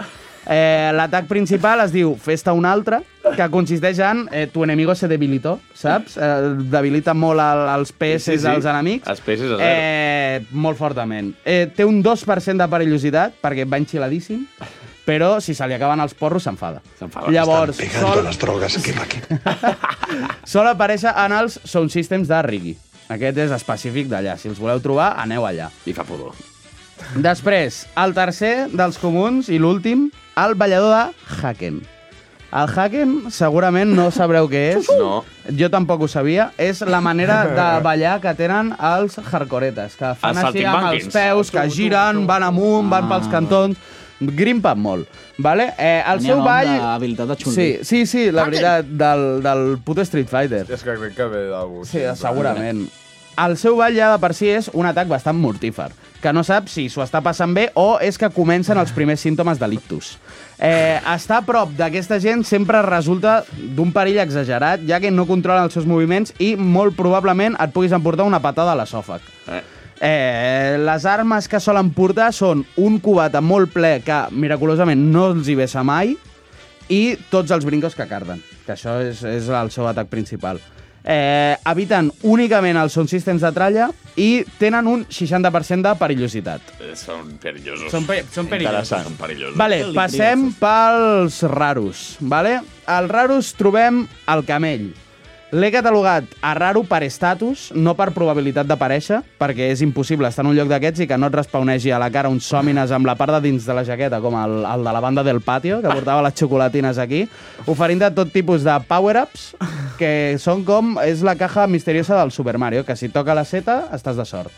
Speaker 3: Eh, L'atac principal es diu Festa un altre, que consisteix en eh, tu enemigo se debilitó, saps? Eh, debilita molt el, els PS sí, sí, sí. als enemics.
Speaker 8: Els peces a zero. Eh...
Speaker 3: Eh, molt fortament. Eh, té un 2% de perillositat, perquè va enxiladíssim, però si se li acaben els porros s'enfada.
Speaker 8: S'enfada
Speaker 3: Llavors, sol,
Speaker 11: las drogas que va aquí.
Speaker 3: sol aparèixer en els Sound Systems de Rigi. Aquest és específic d'allà. Si els voleu trobar, aneu allà.
Speaker 8: I fa pudor.
Speaker 3: Després, el tercer dels comuns i l'últim, el ballador de Haken. El Haken segurament no sabreu què és.
Speaker 8: *laughs* No.
Speaker 3: Jo tampoc ho sabia. És la manera de ballar que tenen els hardcoretes, que fan
Speaker 8: Els
Speaker 3: així amb els
Speaker 8: saltimbanquis.
Speaker 3: peus, que giren, van amunt, van pels cantons, grimpen molt. Vale? Eh, el
Speaker 9: Ah. Tenia
Speaker 3: seu
Speaker 9: nom
Speaker 3: ball...
Speaker 9: d'habilitat de
Speaker 3: Sí,
Speaker 9: Chun-Li.
Speaker 3: sí, sí, la veritat, del, del puto Street Fighter.
Speaker 2: És que crec que ve d'algú.
Speaker 3: Sí, segurament. El seu ball ja de per si és un atac bastant mortífer, que no sap si s'ho està passant bé o és que comencen els primers símptomes de l'ictus. Eh, estar a prop d'aquesta gent sempre resulta d'un perill exagerat, ja que no controlen els seus moviments i molt probablement et puguis emportar una patada a l'esòfag.
Speaker 8: Eh.
Speaker 3: Eh, les armes que solen portar són un cubat amb molt ple que miraculosament no els hi vessa mai i tots els brincos que carden, que això és, és el seu atac principal. eh, eviten únicament els sound systems de tralla i tenen un 60% de perillositat.
Speaker 8: Eh, Són perillosos.
Speaker 3: Són pe- són perillosos. Interessant.
Speaker 8: Són perillosos.
Speaker 3: Vale, passem pels raros. Vale? Als raros trobem el camell. L'he catalogat a raro per estatus, no per probabilitat d'aparèixer, perquè és impossible estar en un lloc d'aquests i que no et respawnegi a la cara uns sòmines amb la part de dins de la jaqueta, com el, el de la banda del patio, que portava les xocolatines aquí, oferint-te tot tipus de power-ups, que són com... És la caja misteriosa del Super Mario, que si toca la seta, estàs de sort.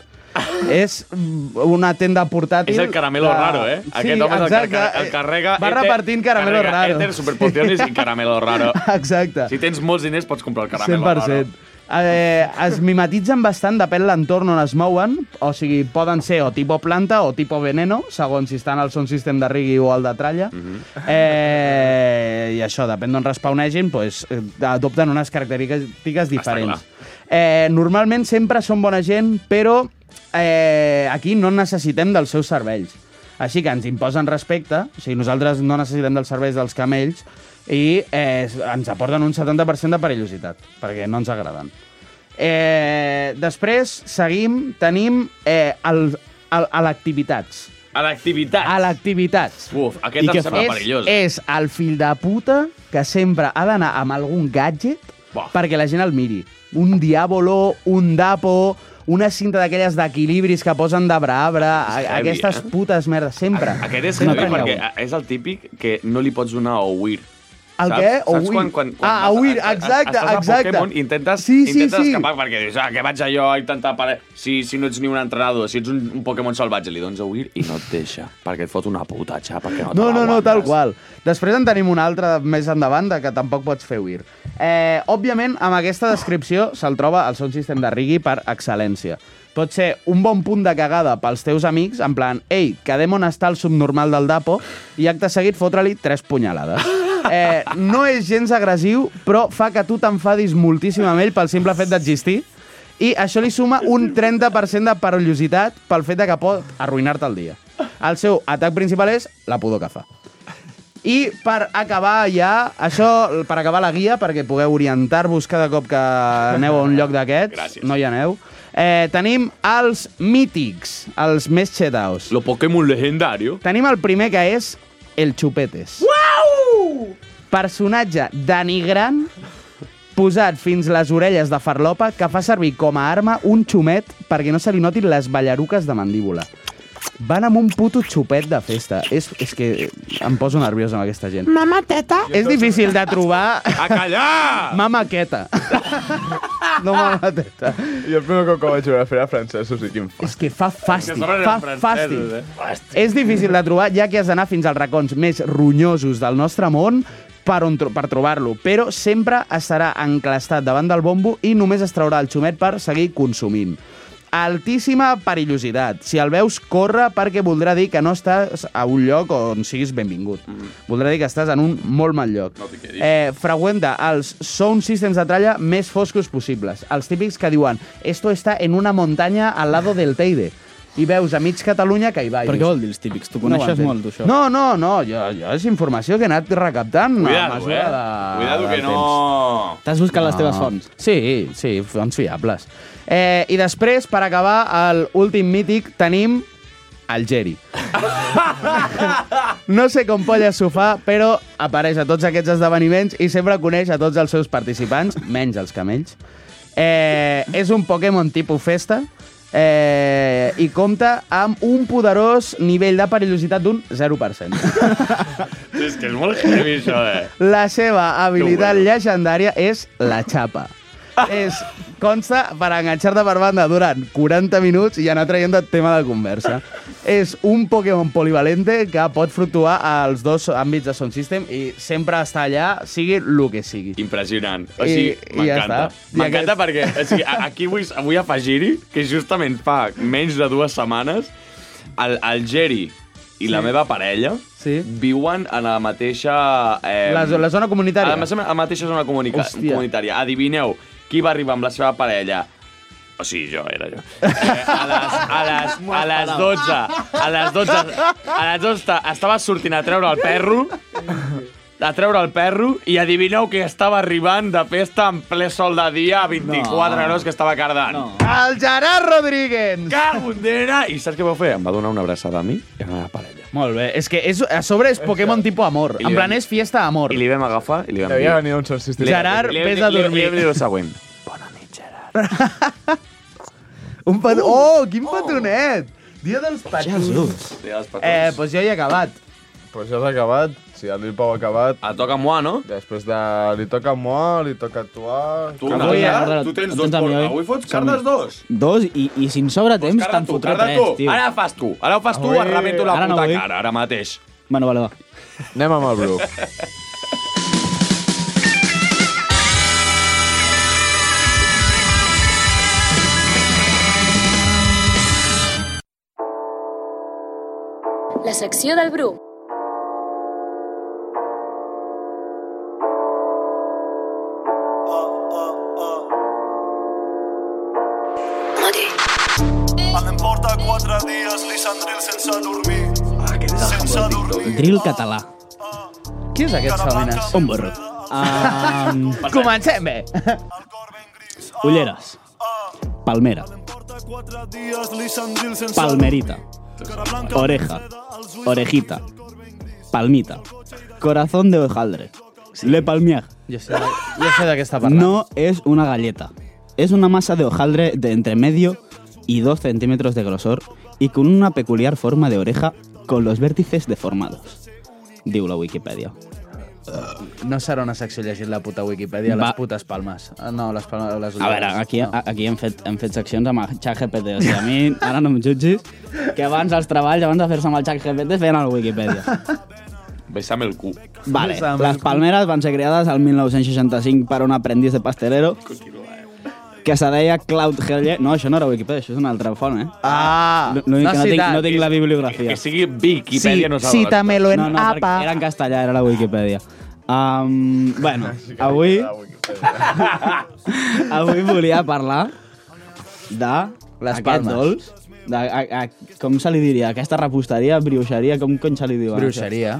Speaker 3: És mm, una tenda portàtil...
Speaker 8: És el caramelo
Speaker 3: de-
Speaker 8: raro, eh? Aquest home és el que ca- el carrega
Speaker 3: Va
Speaker 8: éter-
Speaker 3: repartint caramelos
Speaker 8: carrega
Speaker 3: raros.
Speaker 8: éter, superpociones i caramelo raro.
Speaker 3: *laughs* Exacte.
Speaker 8: Si tens molts diners, pots comprar el caramelo raro.
Speaker 3: 100%. Eh, es mimetitzen bastant, depèn l'entorn on es mouen, o sigui, poden ser o tipo planta o tipo veneno, segons si estan al son system de rigui o al de tralla.
Speaker 8: Mhm.
Speaker 3: eh, I això, depèn d'on respawnegin, doncs, eh, adopten unes característiques diferents. Eh, normalment sempre són bona gent, però eh, aquí no necessitem dels seus cervells. Així que ens imposen respecte, o sigui, nosaltres no necessitem dels serveis dels camells i eh, ens aporten un 70% de perillositat, perquè no ens agraden. Eh, després, seguim, tenim eh, el, el, a l'activitats.
Speaker 8: A l'activitat.
Speaker 3: A l'activitats.
Speaker 8: Uf, aquest em sembla perillós.
Speaker 3: És, és el fill de puta que sempre ha d'anar amb algun gadget perquè la gent el miri. Un diàbolo, un dapo, una cinta d'aquelles d'equilibris que posen de brabre,
Speaker 8: heavy,
Speaker 3: a- aquestes
Speaker 8: eh?
Speaker 3: putes merdes, sempre.
Speaker 8: Aquest és
Speaker 3: No
Speaker 8: heavy
Speaker 3: prengueu.
Speaker 8: perquè és el típic que no li pots donar a Ouir.
Speaker 3: El
Speaker 8: saps?
Speaker 3: què?
Speaker 8: Saps
Speaker 3: Ouir?
Speaker 8: Quan, quan, quan
Speaker 3: Ah,
Speaker 8: vas-
Speaker 3: Ouir,
Speaker 8: estàs-
Speaker 3: exacte,
Speaker 8: estàs a
Speaker 3: exacte.
Speaker 8: Pokémon i intentes,
Speaker 3: Sí, sí,
Speaker 8: intentes
Speaker 3: sí.
Speaker 8: escapar perquè dius, ah, que vaig allò a intentar parar. Si, si no ets ni un entrenador, si ets un, un Pokémon salvatge, li dones a Ouir i no et deixa, perquè et fot una puta xapa que no,
Speaker 3: No, no, no, tal qual. Després en tenim una altra més endavant de que tampoc pots fer huir. Eh, òbviament, amb aquesta descripció se'l troba el sound system de Riggy per excel·lència. Pot ser un bon punt de cagada pels teus amics, en plan, ei, quedem on està el subnormal del Dapo, i acte seguit fotre-li tres punyalades. Eh, no és gens agressiu, però fa que tu t'enfadis moltíssim amb ell pel simple fet d'existir, i això li suma un 30% de perillositat pel fet de que pot arruïnar-te el dia. El seu atac principal és la pudor que fa. I per acabar ja, això, per acabar la guia, perquè pugueu orientar-vos cada cop que aneu a un lloc d'aquests, no hi aneu, eh, tenim els mítics, els més xetaos.
Speaker 8: Lo Pokémon legendario.
Speaker 3: Tenim el primer que és el Xupetes.
Speaker 11: Uau!
Speaker 3: Personatge denigrant posat fins les orelles de farlopa que fa servir com a arma un xumet perquè no se li notin les ballaruques de mandíbula. Van amb un puto xupet de festa. És, és que em poso nerviós amb aquesta gent.
Speaker 11: Mamá teta.
Speaker 3: És difícil de trobar...
Speaker 8: A
Speaker 3: *laughs*
Speaker 8: callar!
Speaker 3: Mama queta. No mama teta.
Speaker 2: Jo el primer cop que vaig veure fer a francesos i quin
Speaker 3: És que fa fàstic,
Speaker 2: Que sonen
Speaker 3: fa
Speaker 2: en francesos,
Speaker 3: fàstic.
Speaker 2: eh? Fàstic.
Speaker 3: És difícil de trobar, ja que has d'anar fins als racons més ronyosos del nostre món per, on, tro- per trobar-lo, però sempre estarà enclastat davant del bombo i només es traurà el xumet per seguir consumint. Altíssima perillositat. Si el veus, corre perquè voldrà dir que no estàs a un lloc on siguis benvingut.
Speaker 2: Mm.
Speaker 3: Voldrà dir que estàs en un molt mal lloc. No eh, freqüenta els sound systems de tralla més foscos possibles. Els típics que diuen «Esto está en una montaña al lado del Teide». I veus a mig Catalunya que hi va. i
Speaker 9: Per què
Speaker 3: dius,
Speaker 9: vol dir els típics? Tu coneixes
Speaker 3: ho entenc.
Speaker 9: molt d'això.
Speaker 3: No, no, no, jo, jo és informació que he anat recaptant a
Speaker 8: Cuidado, eh?
Speaker 3: mesura de...
Speaker 8: Cuidado que
Speaker 3: del
Speaker 8: no...
Speaker 3: temps.
Speaker 9: T'has buscat les teves fonts?
Speaker 3: Sí, sí, fonts fiables. Eh, I després, per acabar, el últim mític tenim el Geri. no sé com polla s'ho fa, però apareix a tots aquests esdeveniments i sempre coneix a tots els seus participants, menys els camells. Eh, és un Pokémon tipus festa eh, i compta amb un poderós nivell de perillositat d'un 0%.
Speaker 8: És que és molt heavy, això, eh?
Speaker 3: La seva habilitat llegendària és la xapa. és, consta per enganxar-te per banda durant 40 minuts i anar traient el tema de conversa. és un Pokémon polivalente que pot fluctuar als dos àmbits de Sound System i sempre està allà, sigui el que sigui.
Speaker 8: Impressionant. O
Speaker 3: I-
Speaker 8: sigui,
Speaker 3: i ja
Speaker 8: m'encanta.
Speaker 3: està. I
Speaker 8: M'encanta
Speaker 3: aquest-
Speaker 8: perquè o sigui, a- aquí vull, vull afegir-hi que justament fa menys de dues setmanes el, el Geri i la meva parella
Speaker 3: sí.
Speaker 8: viuen en la mateixa... Eh,
Speaker 3: La zo- la zona comunitària.
Speaker 8: A la, mateixa- a la mateixa zona comunica,
Speaker 3: Hòstia.
Speaker 8: comunitària. Adivineu qui va arribar amb la seva parella o sigui, jo, era
Speaker 3: *laughs*
Speaker 8: jo. Eh, a, les, a, les, a les 12, a les 12, a les 12 estava sortint a treure el perro a treure el perro i adivineu que estava arribant de festa en ple sol de dia a 24
Speaker 11: No.
Speaker 8: graus que estava cardant. No.
Speaker 11: El Gerard Rodríguez!
Speaker 8: Cago en Dena! I saps què vau fer? Em va donar una abraçada a mi i a la meva parella.
Speaker 3: Molt bé. És que és, a sobre és Pokémon tipus amor.
Speaker 8: I li
Speaker 3: En plan,
Speaker 8: vam-
Speaker 3: és fiesta amor.
Speaker 8: I li vam agafar i li vam
Speaker 3: Devia
Speaker 8: dir...
Speaker 3: venir d'un solstici. Gerard,
Speaker 8: Li vam
Speaker 3: vés
Speaker 8: dir-
Speaker 3: a
Speaker 8: li vam-
Speaker 3: dormir.
Speaker 8: Li vam dir el següent.
Speaker 11: Un
Speaker 8: Uh!
Speaker 11: petó... Oh, quin petonet! Dia dels petons.
Speaker 3: Eh, doncs jo he acabat.
Speaker 2: Pues ja has acabat, si el Lil Pau ha acabat...
Speaker 8: Et toca a Moa, no?
Speaker 2: Després de... Li toca a Moa, li toca a Tuà...
Speaker 8: Tu,
Speaker 9: Avui, eh?
Speaker 8: tu tens
Speaker 9: Tens
Speaker 8: dos
Speaker 9: a mi,
Speaker 8: por...
Speaker 9: oi?
Speaker 8: Avui fots
Speaker 9: Som-
Speaker 8: cardes dos.
Speaker 9: Dos, i, i si em sobra temps, te'n
Speaker 8: Tu,
Speaker 9: fotré
Speaker 8: carda
Speaker 9: tres,
Speaker 8: tu.
Speaker 9: tio.
Speaker 8: Ara fas tu. Ara ho fas tu,
Speaker 9: Avui-
Speaker 8: et rebento la
Speaker 9: Ara no
Speaker 8: puta
Speaker 9: vull.
Speaker 8: cara, ara mateix.
Speaker 9: Bueno, vale, va.
Speaker 2: Anem amb el Bru.
Speaker 6: La secció del Bru.
Speaker 12: A em porta quatre dies l'Isandril sense dormir. Sense dormir.
Speaker 9: Drill català.
Speaker 3: Qui és aquest Salinas?
Speaker 9: Un burro. Um,
Speaker 3: Comencem bé.
Speaker 9: Ulleres. Palmera.
Speaker 12: Quatre dies l'Isandril sense
Speaker 9: Palmerita. Oreja. Orejita. Palmita. Corazón de hojaldre. Le palmier.
Speaker 3: Jo sé, jo sé de què està parlant.
Speaker 9: No es una galleta. Es una masa de hojaldre de entre medio y 2 centímetros de grosor y con una peculiar forma de oreja con los vértices deformados. Digo la Wikipedia.
Speaker 3: No serà una secció llegint la puta Wikipedia,
Speaker 9: Va.
Speaker 3: les putes palmes. Ah, No, les palmes... Les
Speaker 9: A veure, aquí, a- aquí hem, fet, hem fet seccions amb el xat GPT. O sigui, a mi, ara no em jutgis, que abans els treballs, abans de fer-se amb el xat GPT, feien a la Wikipedia.
Speaker 8: Besame el cul.
Speaker 3: Em
Speaker 9: Vale, les palmeres van ser creades al 1965 per un aprendiz de pastelero
Speaker 8: eh.
Speaker 9: que se deia Cloud Heller. No, això no era Wikipedia, això és una altra font, eh?
Speaker 3: Ah,
Speaker 9: L'únic que no tinc,
Speaker 3: citat.
Speaker 9: no tinc la bibliografia.
Speaker 8: Que sigui Wikipedia no salva.
Speaker 3: cítamelo en
Speaker 9: no, no, perquè
Speaker 3: APA.
Speaker 9: Era en castellà, era la Wikipedia. Um, bueno,
Speaker 8: *laughs*
Speaker 9: avui... *laughs* avui volia parlar de
Speaker 3: Les
Speaker 9: aquest
Speaker 3: palmes.
Speaker 9: dolç. De, a, a, com se li diria? Aquesta reposteria, brioixeria, com cony se li diu?
Speaker 3: Bruixeria.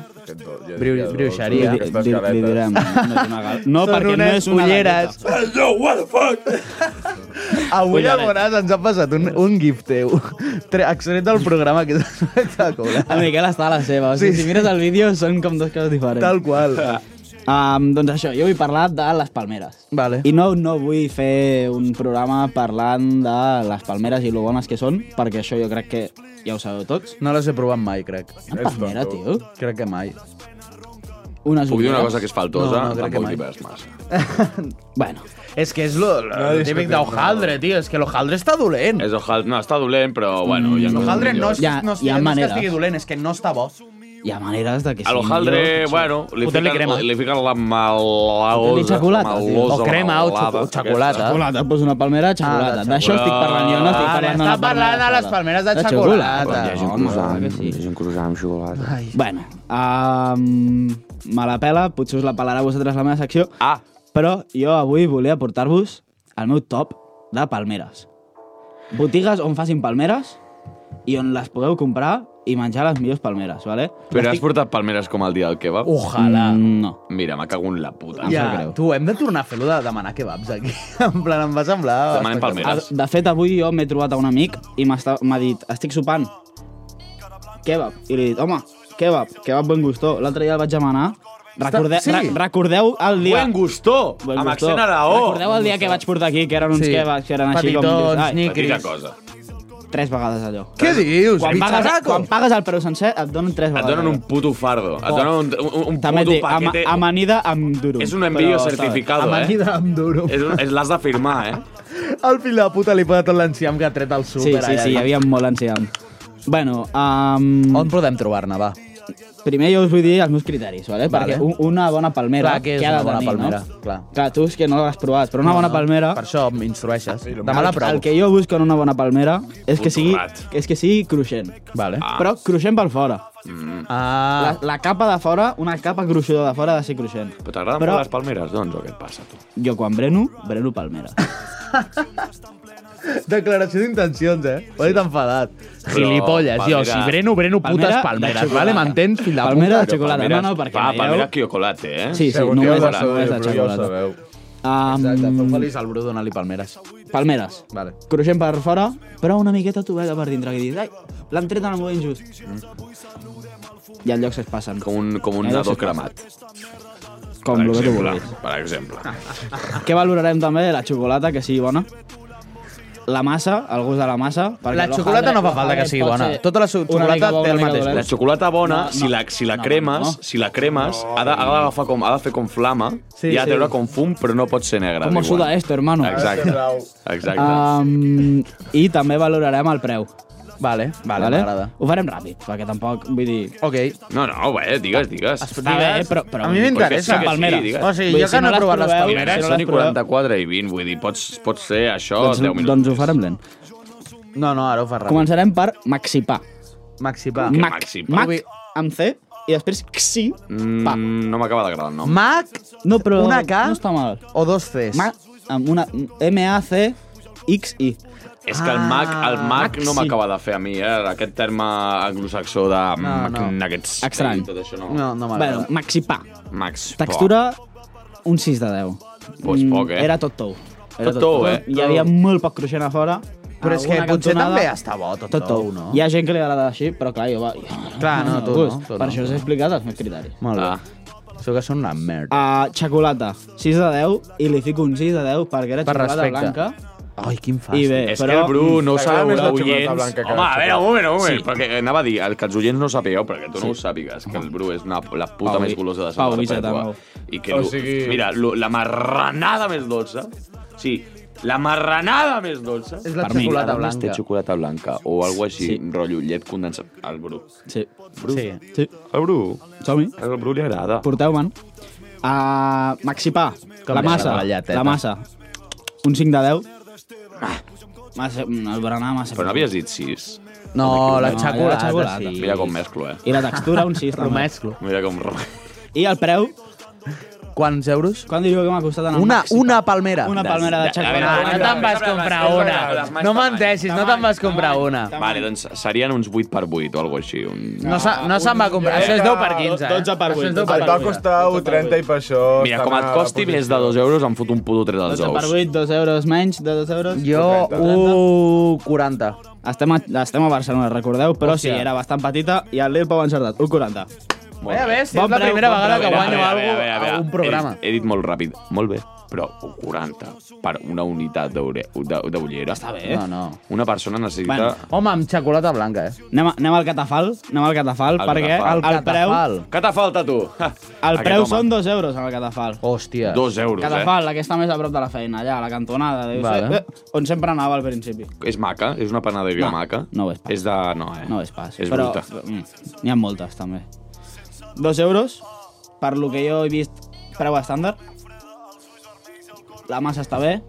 Speaker 3: Bru-
Speaker 2: doncs,
Speaker 3: Bruixeria.
Speaker 9: Li, li, li, li direm. No, és una gal- no
Speaker 3: *laughs* Són
Speaker 9: perquè no
Speaker 3: unes
Speaker 9: és una
Speaker 3: ulleres.
Speaker 9: galleta.
Speaker 8: Yo, what the fuck?
Speaker 3: Avui
Speaker 9: Ulleres.
Speaker 3: el Bonàs ens ha passat un, un gif teu. *laughs* Tre- Extret del programa, que és espectacular.
Speaker 9: El Miquel està a la seva. O sigui, sí. si mires el Ah. vídeo són com dos coses diferents.
Speaker 3: Tal qual.
Speaker 9: *laughs* Um, doncs això, jo vull parlar de les palmeres.
Speaker 3: Vale.
Speaker 9: I no, no vull fer un programa parlant de les palmeres i lo bones que són, perquè això jo crec que ja ho sabeu tots.
Speaker 3: No les he provat mai, crec.
Speaker 9: Una palmera, Ah, tio.
Speaker 3: Crec que mai.
Speaker 9: Unes
Speaker 8: Puc dir una
Speaker 9: ulleres.
Speaker 8: cosa que és faltosa?
Speaker 3: No, no, crec que
Speaker 8: Tampoc
Speaker 3: mai.
Speaker 8: hi vas massa.
Speaker 9: Bueno.
Speaker 3: És que és lo, lo,
Speaker 8: No
Speaker 3: lo típic
Speaker 8: discutim,
Speaker 3: d'Ojaldre, tio. És que l'Ojaldre està dolent.
Speaker 8: És ojal... No, està dolent, però
Speaker 9: Mm.
Speaker 8: bueno... Ja
Speaker 3: L'Ojaldre no, és,
Speaker 9: Hi ha-
Speaker 3: no, és,
Speaker 9: hi
Speaker 3: no és
Speaker 9: ha
Speaker 3: que
Speaker 9: maneres.
Speaker 3: estigui dolent, és que no està bo.
Speaker 9: Hi ha maneres de que
Speaker 8: A l'hojaldre, bueno, li
Speaker 3: Fotem-li
Speaker 8: fiquen,
Speaker 3: crema.
Speaker 8: li fiquen la malaosa.
Speaker 9: Fotem-li xocolata, tio. O crema, o xoco-
Speaker 8: xocolata.
Speaker 9: Aquesta. Xocolata, pues una palmera Ah, de xocolata. D'això estic parlant jo, no estic
Speaker 3: Ah,
Speaker 9: parlant
Speaker 3: està parlant de les palmeres de xocolata.
Speaker 9: Hi ha gent cruzant, hi ha
Speaker 8: gent cruzant amb xocolata.
Speaker 3: Ai.
Speaker 9: Bueno, um, me la pela, potser us la pelarà a vosaltres la meva secció,
Speaker 8: ah.
Speaker 9: però jo avui volia portar-vos el meu top de palmeres. Botigues on facin palmeres i on les podeu comprar i menjar les millors palmeres, vale?
Speaker 8: Però has portat palmeres com el dia del kebab?
Speaker 3: Ojalà.
Speaker 9: Mm, no.
Speaker 8: Mira, me cago en la puta.
Speaker 3: Ja, tu, hem de tornar a fer-lo de demanar kebabs aquí. *laughs* en plan, em va semblar...
Speaker 8: Demanem palmeres.
Speaker 9: Ah, De fet, avui jo m'he trobat a un amic i m'està- m'ha dit, estic sopant, kebab. I li he dit, home, kebab, kebab buen gustó. L'altre dia el vaig demanar. Recorde,
Speaker 3: sí.
Speaker 9: sí. recordeu el dia...
Speaker 8: Buen gustó,
Speaker 9: Buen
Speaker 8: amb
Speaker 9: gustó.
Speaker 8: accent araó.
Speaker 9: Recordeu el dia que vaig portar aquí, que eren uns
Speaker 3: Sí.
Speaker 9: sí. kebabs, que eren així com...
Speaker 3: Petitons,
Speaker 9: dius, ai,
Speaker 3: nyicris.
Speaker 8: Petita cosa.
Speaker 9: Tres vegades allò.
Speaker 3: Què dius?
Speaker 9: Quan pagues, quan pagues el preu sencer, et donen tres
Speaker 8: Et
Speaker 9: vegades.
Speaker 8: donen un puto fardo. Et donen un, un, un
Speaker 9: També et
Speaker 8: puto
Speaker 9: dic, ama,
Speaker 8: paquete.
Speaker 9: amanida amb durum.
Speaker 8: És un envío
Speaker 9: Però,
Speaker 8: certificado, eh?
Speaker 3: Amanida amb duro.
Speaker 8: És, un- és l'has de firmar, eh?
Speaker 3: El fill de puta li posa tot l'enciam que ha tret al súper.
Speaker 9: Sí, sí, sí, hi havia molt enciam. Bueno, um,
Speaker 3: On podem trobar-ne, va?
Speaker 9: primer jo us vull dir els meus criteris, vale?
Speaker 3: Vale.
Speaker 9: perquè un, una bona palmera...
Speaker 3: Clar que és
Speaker 9: ha de
Speaker 3: una bona
Speaker 9: tenir,
Speaker 3: palmera,
Speaker 9: No?
Speaker 3: clar.
Speaker 9: Clar, tu és que no l'has provat, però una bona palmera...
Speaker 3: Per això m'instrueixes. Demà la
Speaker 9: El, el
Speaker 3: provo.
Speaker 9: que jo busco en una bona palmera és que
Speaker 8: Puto
Speaker 9: sigui,
Speaker 8: rat.
Speaker 9: és que sigui cruixent.
Speaker 3: Vale.
Speaker 8: Ah. Mm.
Speaker 9: Però cruixent per fora. La,
Speaker 3: Ah,
Speaker 9: la capa de fora, una capa cruixuda de fora ha de ser cruixent.
Speaker 8: Però t'agraden
Speaker 9: Però-
Speaker 8: molt les palmeres, doncs, o què et passa, tu?
Speaker 9: Jo quan breno, breno palmera.
Speaker 11: Declaració d'intencions, eh? Ho he dit enfadat.
Speaker 3: Però, Gilipolles, jo, si breno, breno
Speaker 11: Palmera
Speaker 3: putes
Speaker 11: de
Speaker 3: palmeres,
Speaker 11: xocolata.
Speaker 3: vale? M'entens, fill de puta?
Speaker 9: Palmera de
Speaker 3: Però
Speaker 9: xocolata,
Speaker 3: palmeres-
Speaker 9: no, no, perquè
Speaker 8: Va,
Speaker 9: veieu-
Speaker 8: palmera quiocolate, eh?
Speaker 9: Sí, sí,
Speaker 8: Segons
Speaker 9: només
Speaker 8: jo,
Speaker 9: de- només de
Speaker 8: però ja ho
Speaker 9: xocolata.
Speaker 8: sabeu.
Speaker 9: Um, Exacte,
Speaker 3: feu feliç al Bru, dona-li palmeres.
Speaker 9: Palmeres.
Speaker 3: Vale.
Speaker 9: Cruixent per fora, però una miqueta tovella per dintre, que dius, ai, l'han tret en el moment just. I al lloc se'ls passen.
Speaker 8: Com un, com un
Speaker 9: Allò
Speaker 8: nadó
Speaker 9: sí que
Speaker 8: cremat.
Speaker 9: Com lo que tu
Speaker 8: exemple,
Speaker 9: vulguis. Ah,
Speaker 8: Per exemple.
Speaker 9: Què valorarem també? La xocolata, que sigui bona. La massa, el gust de la massa. perquè
Speaker 3: La
Speaker 9: l'hojalde-
Speaker 3: xocolata no fa falta que
Speaker 9: l'hojalde
Speaker 3: sigui
Speaker 9: pot
Speaker 3: bona.
Speaker 9: ser
Speaker 3: Tota la so-
Speaker 9: una
Speaker 3: xocolata
Speaker 9: mica bona,
Speaker 3: té el
Speaker 9: una mica
Speaker 3: mateix
Speaker 9: dolenta.
Speaker 8: La xocolata bona,
Speaker 9: No,
Speaker 8: si la, si la cremes,
Speaker 9: no.
Speaker 8: si la cremes, ha de- ha d'agafar com, ha de fer com flama,
Speaker 9: Sí,
Speaker 8: i ha de
Speaker 9: sí.
Speaker 8: treure com fum, però no pot ser negra.
Speaker 9: Com
Speaker 8: diuen.
Speaker 9: suda esto, hermano.
Speaker 8: Exacte. Exacte.
Speaker 9: Um, I també valorarem el preu.
Speaker 3: Vale, vale, m'agrada.
Speaker 9: Ho farem ràpid, perquè tampoc, vull dir...
Speaker 3: Ok.
Speaker 8: No, no, bé, digues, digues.
Speaker 9: Està bé, però- però-
Speaker 3: A mi m'interessa.
Speaker 8: Perquè sí, que sí, digues.
Speaker 3: O sigui, jo que no he provat
Speaker 8: Ah,
Speaker 3: les palmeres.
Speaker 8: Palmeres
Speaker 3: si no
Speaker 8: són
Speaker 3: les
Speaker 8: i
Speaker 3: proveu-
Speaker 8: 44 i 20, vull dir, pots, pots ser això
Speaker 9: Doncs,
Speaker 8: 10 minuts.
Speaker 9: doncs ho farem lent.
Speaker 3: No, no, ara ho fa ràpid.
Speaker 9: Començarem per maxipar.
Speaker 3: Maxipar.
Speaker 8: Com que
Speaker 9: Mac,
Speaker 8: maxipar?
Speaker 9: mac, amb C, i després xi. Pa.
Speaker 8: Mm, no m'acaba d'agradar el nom.
Speaker 3: Mac,
Speaker 9: No, però
Speaker 3: una K
Speaker 9: no està mal.
Speaker 3: o dos Cs?
Speaker 9: Mac, amb una M-A-C-X-I.
Speaker 8: És que el Mac, el Mac no
Speaker 9: Ah, Maxi.
Speaker 8: m'acaba de fer a mi, eh? Aquest terme anglosaxó de no,
Speaker 9: no.
Speaker 8: nuggets.
Speaker 9: Estrany.
Speaker 8: i Tot això no.
Speaker 9: bueno, maxipar.
Speaker 8: Max.
Speaker 9: Textura, un 6 de 10.
Speaker 8: Pues poc, eh?
Speaker 9: Mm, Era tot tou. Era
Speaker 8: Tot tou, eh?
Speaker 9: Hi havia molt poc cruixent a fora.
Speaker 3: Però
Speaker 2: Ah,
Speaker 3: és que
Speaker 9: alguna
Speaker 3: potser
Speaker 9: cantonada.
Speaker 3: també està bo tot tou, no?
Speaker 9: Hi ha gent que li agrada així, però clar, jo... Va, jo
Speaker 3: Clar, no,
Speaker 9: el
Speaker 3: tu
Speaker 9: gust.
Speaker 3: no, tu no.
Speaker 9: Per això us he explicat els meus criteris.
Speaker 8: Ah.
Speaker 3: Molt bé. Això que són una merda.
Speaker 9: Uh, xocolata, 6 de 10, i li fico un 6 de 10 perquè era
Speaker 3: Per
Speaker 9: xocolata
Speaker 3: respecte.
Speaker 9: blanca.
Speaker 3: Ai, quin
Speaker 9: I bé,
Speaker 8: Eh, és
Speaker 9: però...
Speaker 8: que el Bru no ho
Speaker 9: T'agrada
Speaker 8: sabeu,
Speaker 9: més la xocolata
Speaker 8: oients.
Speaker 9: blanca que
Speaker 8: Home,
Speaker 9: la
Speaker 8: a veure, un moment, un moment.
Speaker 9: Sí.
Speaker 8: Sí. Perquè anava a dir, el que els oients no sàpigueu, perquè tu no ho sàpigues, que el Bru és una, la puta
Speaker 9: Pau
Speaker 8: més
Speaker 9: i-
Speaker 8: golosa de
Speaker 9: Pau
Speaker 8: Santa
Speaker 9: i Vicentamau.
Speaker 8: I que,
Speaker 9: O
Speaker 8: o
Speaker 9: sigui-
Speaker 8: sigui... mira, lo, la marranada més dolça... Sí, la marranada més dolça...
Speaker 3: És la xocolata blanca.
Speaker 8: Té xocolata blanca o alguna així, sí. rotllo llet condensat. El Bru.
Speaker 9: Sí.
Speaker 8: Bru.
Speaker 9: Sí. sí.
Speaker 8: El Bru.
Speaker 9: Som-hi.
Speaker 8: El Bru li agrada.
Speaker 9: Porteu, man. Uh, Maxipà,
Speaker 3: Com
Speaker 9: la
Speaker 3: li
Speaker 9: massa,
Speaker 3: agrada la lleteta.
Speaker 9: la massa. Un 5 de 10. Ah, massa, el berenar massa.
Speaker 8: Però no havies dit 6.
Speaker 9: No, la xocolata, sí.
Speaker 8: Mira com mesclo, eh?
Speaker 9: I la textura, un 6 també.
Speaker 3: mesclo.
Speaker 8: Mira com... *laughs*
Speaker 9: I el preu?
Speaker 3: Quants euros?
Speaker 9: Quant diríeu que m'ha costat anar al
Speaker 3: Una,
Speaker 9: Maxipà?
Speaker 3: una palmera.
Speaker 9: Una palmera de xocolata.
Speaker 3: No, no te'n vas comprar una. No menteixis, no te'n vas comprar una.
Speaker 8: Vale, doncs serien uns 8 per 8 o alguna així. Un...
Speaker 3: No, se- no se'n va comprar. Això és 10 per 15, eh? Això és 10 per
Speaker 11: Et va
Speaker 3: 15.
Speaker 11: costar 1,30 i per això...
Speaker 8: Mira, com et costi més de 2 euros, em fot un puto tret als
Speaker 9: 12 per
Speaker 8: ous.
Speaker 9: 8, 2 euros menys de 2 euros.
Speaker 3: Jo, 1,40.
Speaker 9: Estem a, estem a Barcelona, recordeu? Però Hòstia.
Speaker 3: Hòstia.
Speaker 9: sí, era bastant petita i el Lil Pau ha encertat, 1,40.
Speaker 3: Eh,
Speaker 8: Molt
Speaker 3: a
Speaker 8: bé.
Speaker 3: veure si és la
Speaker 9: preu,
Speaker 3: primera
Speaker 9: bon
Speaker 3: vegada
Speaker 9: preu.
Speaker 3: que
Speaker 9: A veure,
Speaker 3: guanyo
Speaker 9: a
Speaker 8: veure,
Speaker 3: alguna
Speaker 8: a
Speaker 3: cosa
Speaker 8: veure.
Speaker 3: a un programa.
Speaker 8: He, he dit molt ràpid. Molt bé, però un 40 per una unitat d'ore- de- d'ullera. Està
Speaker 9: bé.
Speaker 3: No, no.
Speaker 8: Una persona necessita...
Speaker 9: Bueno,
Speaker 3: Home, amb xocolata blanca, eh?
Speaker 9: Anem, a- anem al catafal, anem al catafal,
Speaker 8: El
Speaker 9: perquè
Speaker 8: catafal.
Speaker 9: el, preu...
Speaker 8: Què te falta, tu?
Speaker 9: El preu són 2 euros en el catafal.
Speaker 3: Hòstia.
Speaker 8: Dos euros,
Speaker 9: Catafal, la que està més a prop de la feina, allà, a la cantonada, deus,
Speaker 8: Vale.
Speaker 9: eh, eh, on sempre anava al principi.
Speaker 8: eh? És maca? És una panaderia
Speaker 9: No,
Speaker 8: maca?
Speaker 9: no ho és pas.
Speaker 8: És de... No, eh?
Speaker 9: No és pas.
Speaker 8: És
Speaker 9: però,
Speaker 8: bruta.
Speaker 9: mm, N'hi ha moltes, també. Dos euros, per lo que jo he vist, preu estàndard. La massa està bé.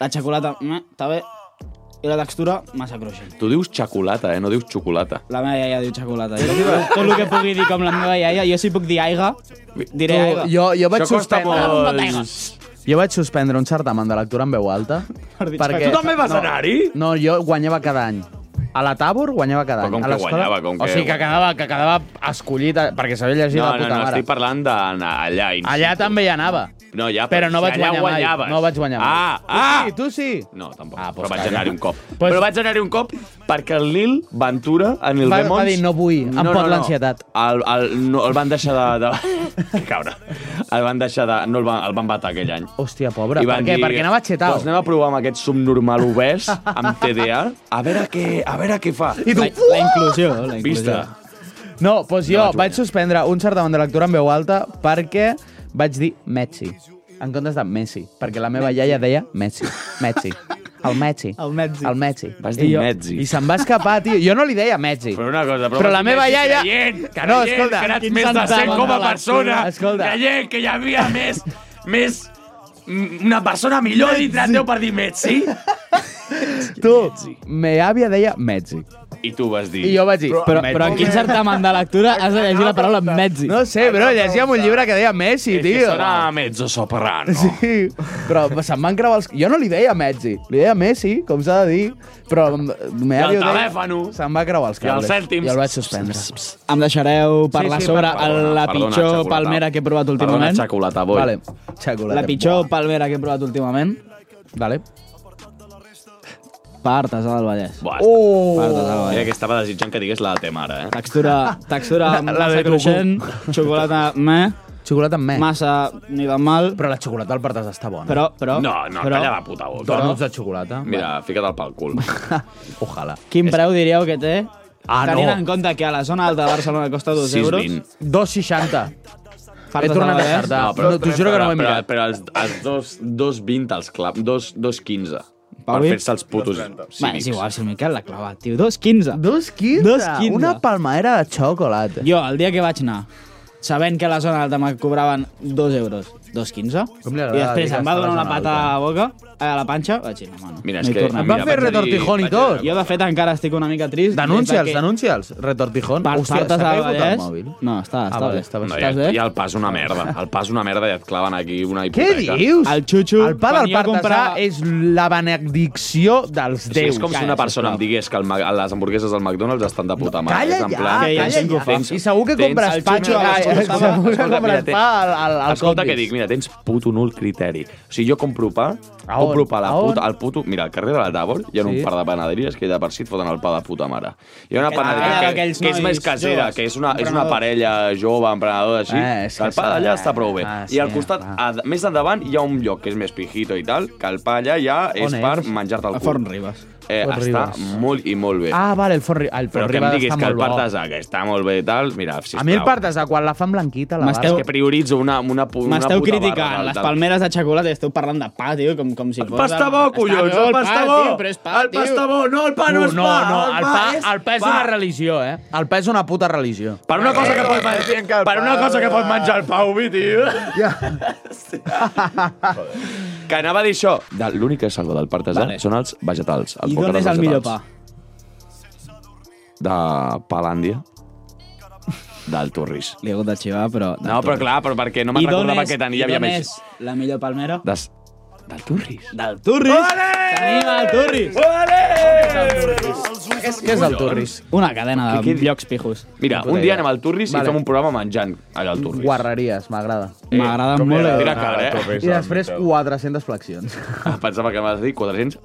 Speaker 9: La xocolata, mm, està bé. I la textura, massa cruixent.
Speaker 8: Tu dius xocolata, eh? No dius xocolata.
Speaker 9: La meva iaia diu xocolata. Jo, tot el que pugui dir com la meva iaia, jo si puc dir aiga, diré
Speaker 3: Tu,
Speaker 9: aiga.
Speaker 3: jo- jo vaig Això costa suspendre- molt.
Speaker 9: molt.
Speaker 3: Jo vaig suspendre un certamen de lectura en veu alta.
Speaker 9: dir
Speaker 3: perquè...
Speaker 9: xocolata. Tu també vas
Speaker 3: no,
Speaker 8: anar-hi?
Speaker 3: No, jo guanyava cada any. A la Tabor guanyava cada any.
Speaker 8: Però com
Speaker 3: a
Speaker 8: que
Speaker 3: l'escola-
Speaker 8: guanyava, com
Speaker 3: O
Speaker 8: que
Speaker 3: sigui, que quedava, que quedava escollit eh, perquè sabia llegir
Speaker 8: no,
Speaker 3: de puta
Speaker 8: no, no,
Speaker 3: mare.
Speaker 8: estic parlant d'anar allà. In
Speaker 3: Allà també hi anava.
Speaker 8: No, ja,
Speaker 3: Però no
Speaker 8: si
Speaker 3: vaig
Speaker 8: allà
Speaker 3: guanyar mai.
Speaker 8: guanyaves.
Speaker 3: No vaig guanyar mai.
Speaker 8: Ah, ah!
Speaker 3: Tu sí, tu sí.
Speaker 8: No, tampoc. Ah,
Speaker 3: doncs
Speaker 8: però vaig
Speaker 3: calla.
Speaker 8: anar-hi un cop. Pues... Però vaig anar-hi un cop perquè el Lil Ventura, en el
Speaker 3: Va- va
Speaker 8: Remons...
Speaker 3: dir, "No vull, em pot l'ansietat."
Speaker 8: El, el, no, el van deixar de... de... *laughs* Que cabra. El van deixar de... No el van, el van matar aquell any.
Speaker 3: Hòstia, pobre. Per què? Perquè anava xetau.
Speaker 8: Doncs anem a provar amb aquest subnormal obès, amb TDA, a veure què, a veure què fa.
Speaker 3: I tu,
Speaker 8: La-
Speaker 3: "Uah!"
Speaker 8: la inclusió, la
Speaker 3: Vista.
Speaker 8: inclusió.
Speaker 3: No, doncs jo vaig, suspendre un certamen de lectura en veu alta perquè vaig dir Messi, en comptes de Messi, perquè la meva iaia deia Messi, Messi, el Messi,
Speaker 9: El Messi.
Speaker 3: el Messi.
Speaker 8: Vas
Speaker 3: I
Speaker 8: dir
Speaker 3: jo-
Speaker 8: Messi.
Speaker 3: I se'n va escapar, tio. Jo no li deia Messi.
Speaker 8: Però una cosa, però,
Speaker 3: Però
Speaker 8: vas
Speaker 3: la
Speaker 8: dir,
Speaker 3: meva
Speaker 8: "Messi,
Speaker 3: iaia-
Speaker 8: Creient,
Speaker 3: Que no,
Speaker 8: creient,
Speaker 3: escolta.
Speaker 8: Que eres
Speaker 3: Quin
Speaker 8: més de
Speaker 3: santa
Speaker 8: 100 com a
Speaker 3: bona
Speaker 8: persona.
Speaker 3: lectura. Escolta.
Speaker 8: Creient que hi havia més... més mm, una persona
Speaker 3: Eh,
Speaker 8: millor dintre teu per dir Messi.
Speaker 3: Tu, me àvia deia Messi.
Speaker 8: i tu vas dir...
Speaker 3: I jo vaig dir...
Speaker 8: Però,
Speaker 3: Messi.
Speaker 8: però en quin certamen
Speaker 3: de lectura has de llegir la paraula Messi? Ah, No sé, però llegíem un llibre que deia Messi,
Speaker 8: És que
Speaker 3: tio.
Speaker 8: serà mezzo soprano.
Speaker 3: Sí, però se'm van creuar els... Jo no li deia Messi, li deia Messi, com s'ha de dir, però... I
Speaker 8: I el telèfano.
Speaker 3: Se'm va creuar els
Speaker 8: I els
Speaker 3: cables.
Speaker 8: cèntims.
Speaker 3: I el vaig suspendre.
Speaker 9: Em deixareu parlar
Speaker 3: sí,
Speaker 9: sobre
Speaker 3: perdona,
Speaker 9: la
Speaker 3: perdona,
Speaker 9: pitjor
Speaker 3: xocolata.
Speaker 9: palmera que he provat últimament?
Speaker 8: Perdona, xocolata, boi.
Speaker 9: Vale.
Speaker 3: Xocolata,
Speaker 9: La pitjor palmera que he provat últimament?
Speaker 3: Vale.
Speaker 9: Pa artesà eh, del Vallès.
Speaker 8: Buah,
Speaker 9: Oh!
Speaker 8: Mira que estava desitjant que digués la de Temara, eh?
Speaker 9: Textura, textura
Speaker 8: La- la
Speaker 9: massa
Speaker 8: de Goku.
Speaker 9: cruixent, xocolata meh.
Speaker 3: Xocolata meh.
Speaker 9: Massa ni de mal.
Speaker 3: Però la xocolata al partes està bona.
Speaker 9: Però, però...
Speaker 8: No, no,
Speaker 9: però,
Speaker 8: calla la puta boca.
Speaker 9: Donuts
Speaker 3: de xocolata.
Speaker 8: Mira, fica't el pel
Speaker 3: *laughs*
Speaker 8: cul.
Speaker 3: Ojalà.
Speaker 9: Quin preu diríeu que té?
Speaker 3: Ah,
Speaker 9: Tenint
Speaker 3: no.
Speaker 9: en compte que a la zona alta de Barcelona costa 2 euros.
Speaker 3: 2,60.
Speaker 9: Fartes
Speaker 3: He tornat a
Speaker 9: de Vallès.
Speaker 3: acertar. No, però no, t'ho juro que no m'he
Speaker 8: eh? Però-
Speaker 3: mirat.
Speaker 8: Però els, els dos, dos 20 als clap, dos, dos 15. Per
Speaker 9: Paui?
Speaker 8: fer-se els putos cívics.
Speaker 9: Va, és igual, si el Miquel l'ha clavat, tio. 2,15.
Speaker 3: 2,15?
Speaker 9: 2,15.
Speaker 3: Una palmadera de xocolata.
Speaker 9: Jo, el dia que vaig anar, sabent que a la zona alta me cobraven 2 euros, 2,15,
Speaker 3: Com
Speaker 9: i
Speaker 3: li agrada dir
Speaker 9: després
Speaker 3: que
Speaker 9: em va
Speaker 3: està a la
Speaker 9: donar una
Speaker 3: zona
Speaker 9: patada a la boca, a la panxa, vaig dir, no, home, no.
Speaker 8: Mira,
Speaker 9: no
Speaker 8: és
Speaker 9: hi
Speaker 8: que...
Speaker 9: tornem.
Speaker 3: Em van fer retortijón i tot.
Speaker 9: Jo, de fet, encara estic una mica trist.
Speaker 3: Denuncia'ls,
Speaker 9: perquè-
Speaker 3: denuncia'ls. Retortijón.
Speaker 9: Per
Speaker 3: Hòstia,
Speaker 9: fartes
Speaker 3: s'ha
Speaker 9: de
Speaker 3: caigut el
Speaker 9: Vallès.
Speaker 3: mòbil?
Speaker 9: No, està,
Speaker 3: Ah,
Speaker 9: està
Speaker 3: vale,
Speaker 9: bé.
Speaker 3: estava-
Speaker 8: No,
Speaker 9: Estàs
Speaker 8: i,
Speaker 9: bé?
Speaker 8: I el pas una merda. El pas una merda i et claven aquí una
Speaker 3: Què
Speaker 8: hipoteca.
Speaker 3: dius?
Speaker 9: El xutxu...
Speaker 3: El pa del
Speaker 8: venia a
Speaker 3: Partasà
Speaker 8: comprar-
Speaker 3: és la benedicció dels
Speaker 8: Déu,
Speaker 3: déus.
Speaker 8: és com si una persona em digués que el, Ma- les hamburgueses del McDonald's estan de puta mare.
Speaker 3: Calla
Speaker 8: és en
Speaker 3: ja,
Speaker 8: plan,
Speaker 3: calla
Speaker 8: tens-
Speaker 3: ja.
Speaker 8: tens-
Speaker 3: I segur que
Speaker 8: tens-
Speaker 3: compres
Speaker 8: el
Speaker 3: pa,
Speaker 8: xutxu-
Speaker 3: calla, *laughs*
Speaker 8: escolta,
Speaker 3: segur que
Speaker 8: escolta,
Speaker 3: compres
Speaker 8: mira,
Speaker 3: pa al- al- al
Speaker 8: Escolta que
Speaker 3: Combis.
Speaker 8: dic, mira, tens puto nul criteri. O sigui, jo compro pa,
Speaker 3: A on?
Speaker 8: compro pa la
Speaker 3: A on?
Speaker 8: puta, al puto... Mira, al carrer de la Tàbor hi ha un
Speaker 3: Sí.
Speaker 8: par de panaderies que de per si et foten el pa de puta mare. Hi ha una
Speaker 3: Aquella-
Speaker 8: panaderia
Speaker 3: aquella
Speaker 8: que,
Speaker 3: d'aquells
Speaker 8: que és
Speaker 3: nois
Speaker 8: més casera,
Speaker 3: joves,
Speaker 8: que és una, és una
Speaker 3: emprenedors.
Speaker 8: parella jove, emprenedora, així.
Speaker 3: Eh, és que
Speaker 8: el pa
Speaker 3: s'ha-
Speaker 8: d'allà està prou bé.
Speaker 3: Ah, sí,
Speaker 8: I al costat, a, més endavant, hi ha un lloc que és més pijito i tal, que el pa allà ja és
Speaker 3: On és?
Speaker 8: per menjar-te el
Speaker 3: A
Speaker 8: cul.
Speaker 3: Forn Ribes.
Speaker 8: Eh,
Speaker 3: Forn
Speaker 8: està
Speaker 3: Ribes.
Speaker 8: molt i molt bé.
Speaker 3: Ah, vale, el Forn, el
Speaker 8: Però
Speaker 3: Forn
Speaker 8: que em
Speaker 3: Ribas
Speaker 8: diguis
Speaker 3: està
Speaker 8: que el
Speaker 3: molt bo.
Speaker 8: Partesà, que està molt bé i tal, mira, sisplau.
Speaker 3: A mi el Partesà, quan la fan blanquita, la
Speaker 8: És que prioritzo una, una, pu- una
Speaker 9: M'esteu
Speaker 8: puta barra
Speaker 9: criticant
Speaker 8: del-
Speaker 9: les
Speaker 8: del-
Speaker 9: palmeres de xocolata i esteu parlant de pa, tio, com, com si fos...
Speaker 8: pa està bo,
Speaker 9: Està
Speaker 8: collons, el pa està bo.
Speaker 9: tio, però és pa,
Speaker 8: El pa
Speaker 9: tio.
Speaker 8: està bo, no, el pa
Speaker 3: no, no, no, el pa,
Speaker 8: és
Speaker 3: el pa és
Speaker 8: pa.
Speaker 3: una religió, eh? El pa és una puta religió.
Speaker 8: Per una cosa que pot menjar, per una cosa que pot menjar el Pau, eh? vi, tio. *laughs*
Speaker 3: Ja.
Speaker 8: que anava a dir això. De- L'únic que salva del partesà
Speaker 9: Vale.
Speaker 8: són els vegetals. Els
Speaker 9: I d'on
Speaker 8: bocates
Speaker 9: és el
Speaker 8: vegetals.
Speaker 9: millor pa?
Speaker 8: De Palàndia. Del Torris.
Speaker 9: Li he hagut de xivar, però... del
Speaker 8: No, però
Speaker 9: Torris.
Speaker 8: clar, però perquè no
Speaker 9: I
Speaker 8: me'n
Speaker 9: d'on
Speaker 8: recordava
Speaker 9: és-
Speaker 8: que tenia,
Speaker 9: i
Speaker 8: hi havia
Speaker 9: d'on
Speaker 8: més.
Speaker 9: és la millor palmera?
Speaker 8: Des... Del Torris.
Speaker 9: Del Turris! Tenim el Turris!
Speaker 3: És que és el Turris.
Speaker 9: Una cadena de llocs pijos.
Speaker 8: Mira, un dia anem al Turris
Speaker 3: Vale.
Speaker 8: i fem un programa menjant allà al Turris.
Speaker 3: Guarreries, m'agrada.
Speaker 9: Eh, M'agrada
Speaker 8: com li
Speaker 9: molt.
Speaker 8: agrada
Speaker 9: el-
Speaker 8: anar a la Torres,
Speaker 3: I
Speaker 2: *laughs*
Speaker 8: al
Speaker 3: després 400 flexions.
Speaker 8: Ah, Pensava que m'has de dir 400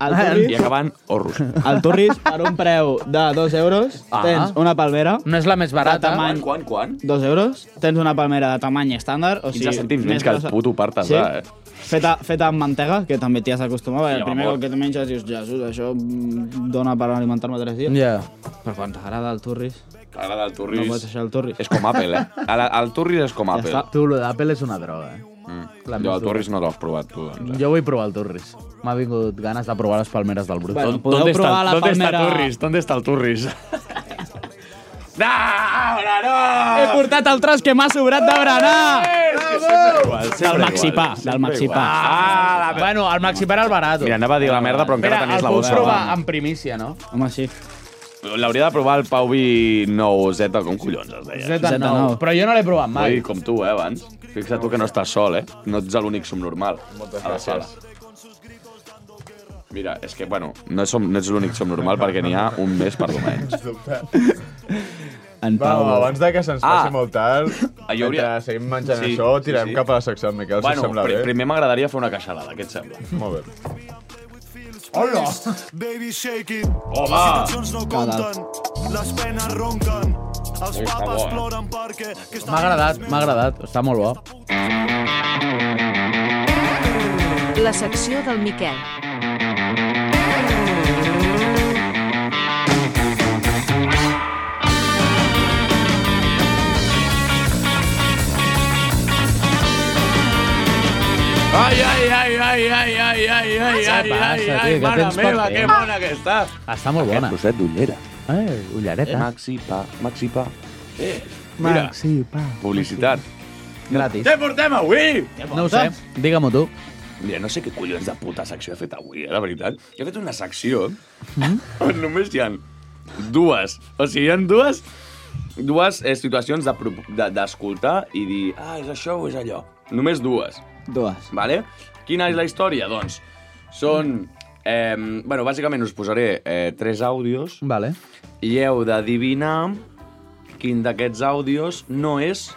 Speaker 9: El
Speaker 3: Ah,
Speaker 9: Turris,
Speaker 8: i acabant horros.
Speaker 9: el Turris, per un preu de 2 euros,
Speaker 3: Ah.
Speaker 9: tens una palmera
Speaker 3: *laughs* No és la més
Speaker 9: de
Speaker 3: barata.
Speaker 9: tamany...
Speaker 8: Quan, quan?
Speaker 9: 2 euros, tens una palmera de tamany estàndard, o sigui...
Speaker 8: 15 cèntims menys
Speaker 9: més
Speaker 8: que el
Speaker 9: grossa.
Speaker 8: puto part
Speaker 9: Sí?
Speaker 8: sí? eh?
Speaker 9: Feta, feta amb mantega, que també t'hi has d'acostumar, perquè
Speaker 8: Sí,
Speaker 9: el primer
Speaker 8: amor.
Speaker 9: cop que te menges dius, Jesús, això mm, dona per alimentar-me tres dies.
Speaker 3: Ja.
Speaker 9: Però quan t'agrada el turris,
Speaker 8: T'agrada el
Speaker 9: no pots
Speaker 8: Turris?
Speaker 9: deixar el turris.
Speaker 8: és com
Speaker 9: *laughs*
Speaker 8: Apple, eh? El, el Turris és com
Speaker 9: Ja
Speaker 8: Apple. Mm.
Speaker 9: està.
Speaker 3: Tu, lo d'Apple és una droga, eh? La
Speaker 8: Jo el Turris no l'has provat, tu, doncs. Eh?
Speaker 3: Jo vull provar el Turris. M'ha vingut ganes de provar les palmeres del Brut.
Speaker 9: Bueno, podeu provar la palmera...
Speaker 8: ¿Dónde está el Turris? *laughs* no, ahora
Speaker 9: He
Speaker 8: no! Eh,
Speaker 9: portat el tros que m'ha sobrat de berenar! Del Maxipà, del Maxipà.
Speaker 8: Ah, la...
Speaker 3: Bueno, el Maxi era el barato.
Speaker 8: Mira, anava a dir la merda, però encara
Speaker 3: Espera,
Speaker 8: tenies
Speaker 3: el
Speaker 8: la eh.
Speaker 3: puc
Speaker 8: boca.
Speaker 3: provar en primícia, no?
Speaker 9: Home, sí.
Speaker 8: L'hauria de provar el Pau Vi 9 Z, com collons es deia?
Speaker 3: Z9.
Speaker 9: Z9.
Speaker 3: Però jo no l'he provat
Speaker 8: Vull dir,
Speaker 3: mai.
Speaker 8: com tu, eh, abans. Fixa't tu que no estàs sol, eh? No ets l'únic subnormal a la sala. Mira, és que, bueno, no, som, no ets l'únic subnormal perquè n'hi ha un més per domenys.
Speaker 9: En
Speaker 2: Va,
Speaker 9: Pau.
Speaker 2: va, abans de que se'ns faci
Speaker 8: Ah.
Speaker 2: molt tard,
Speaker 8: Ah, jo hauria-
Speaker 2: mentre seguim menjant
Speaker 8: Sí,
Speaker 2: això,
Speaker 8: sí,
Speaker 2: tirem
Speaker 8: sí.
Speaker 2: cap a la secció del Miquel, si
Speaker 8: Bueno,
Speaker 2: et sembla
Speaker 8: pri
Speaker 2: bé.
Speaker 8: primer m'agradaria fer una queixalada, què et sembla?
Speaker 2: Molt bé.
Speaker 13: Hola! Baby, shake it.
Speaker 8: Home!
Speaker 13: Les cançons no
Speaker 9: Cada-
Speaker 13: compten, les penes ronquen, els
Speaker 8: Ui, està
Speaker 13: papes
Speaker 8: bo, eh?
Speaker 13: ploren perquè... que estan-
Speaker 3: M'ha agradat, m'ha agradat. Està molt bo.
Speaker 14: La secció del Miquel.
Speaker 8: Ai, ai, ai, ai, ai, ai, ai, ai,
Speaker 3: Què
Speaker 8: ai,
Speaker 3: passa,
Speaker 8: ai,
Speaker 3: tio?
Speaker 8: ai,
Speaker 3: Què
Speaker 8: mare
Speaker 3: tens per
Speaker 8: meva,
Speaker 3: fer?
Speaker 8: que bona que està.
Speaker 3: Està molt bona.
Speaker 8: Roset d'Ullera.
Speaker 3: Eh, ullareta.
Speaker 8: Maxi, pa, Maxi, pa. Mira,
Speaker 3: Maxi, pa.
Speaker 8: publicitat.
Speaker 3: Gratis.
Speaker 8: Què portem avui?
Speaker 3: No ho sé, digue-m'ho tu.
Speaker 8: Mira, no sé què collons de puta secció he fet avui, eh, de veritat. He fet una secció on només hi ha Dues. O sigui, hi ha dues, dues eh, situacions de pro- de- d'escoltar de, i dir, ah, és això o és allò. Només dues.
Speaker 9: Dues.
Speaker 8: Vale? Quina és la història? Doncs, són... Eh, bueno, bàsicament us posaré eh, tres àudios.
Speaker 3: Vale.
Speaker 8: I heu d'adivinar quin d'aquests àudios no és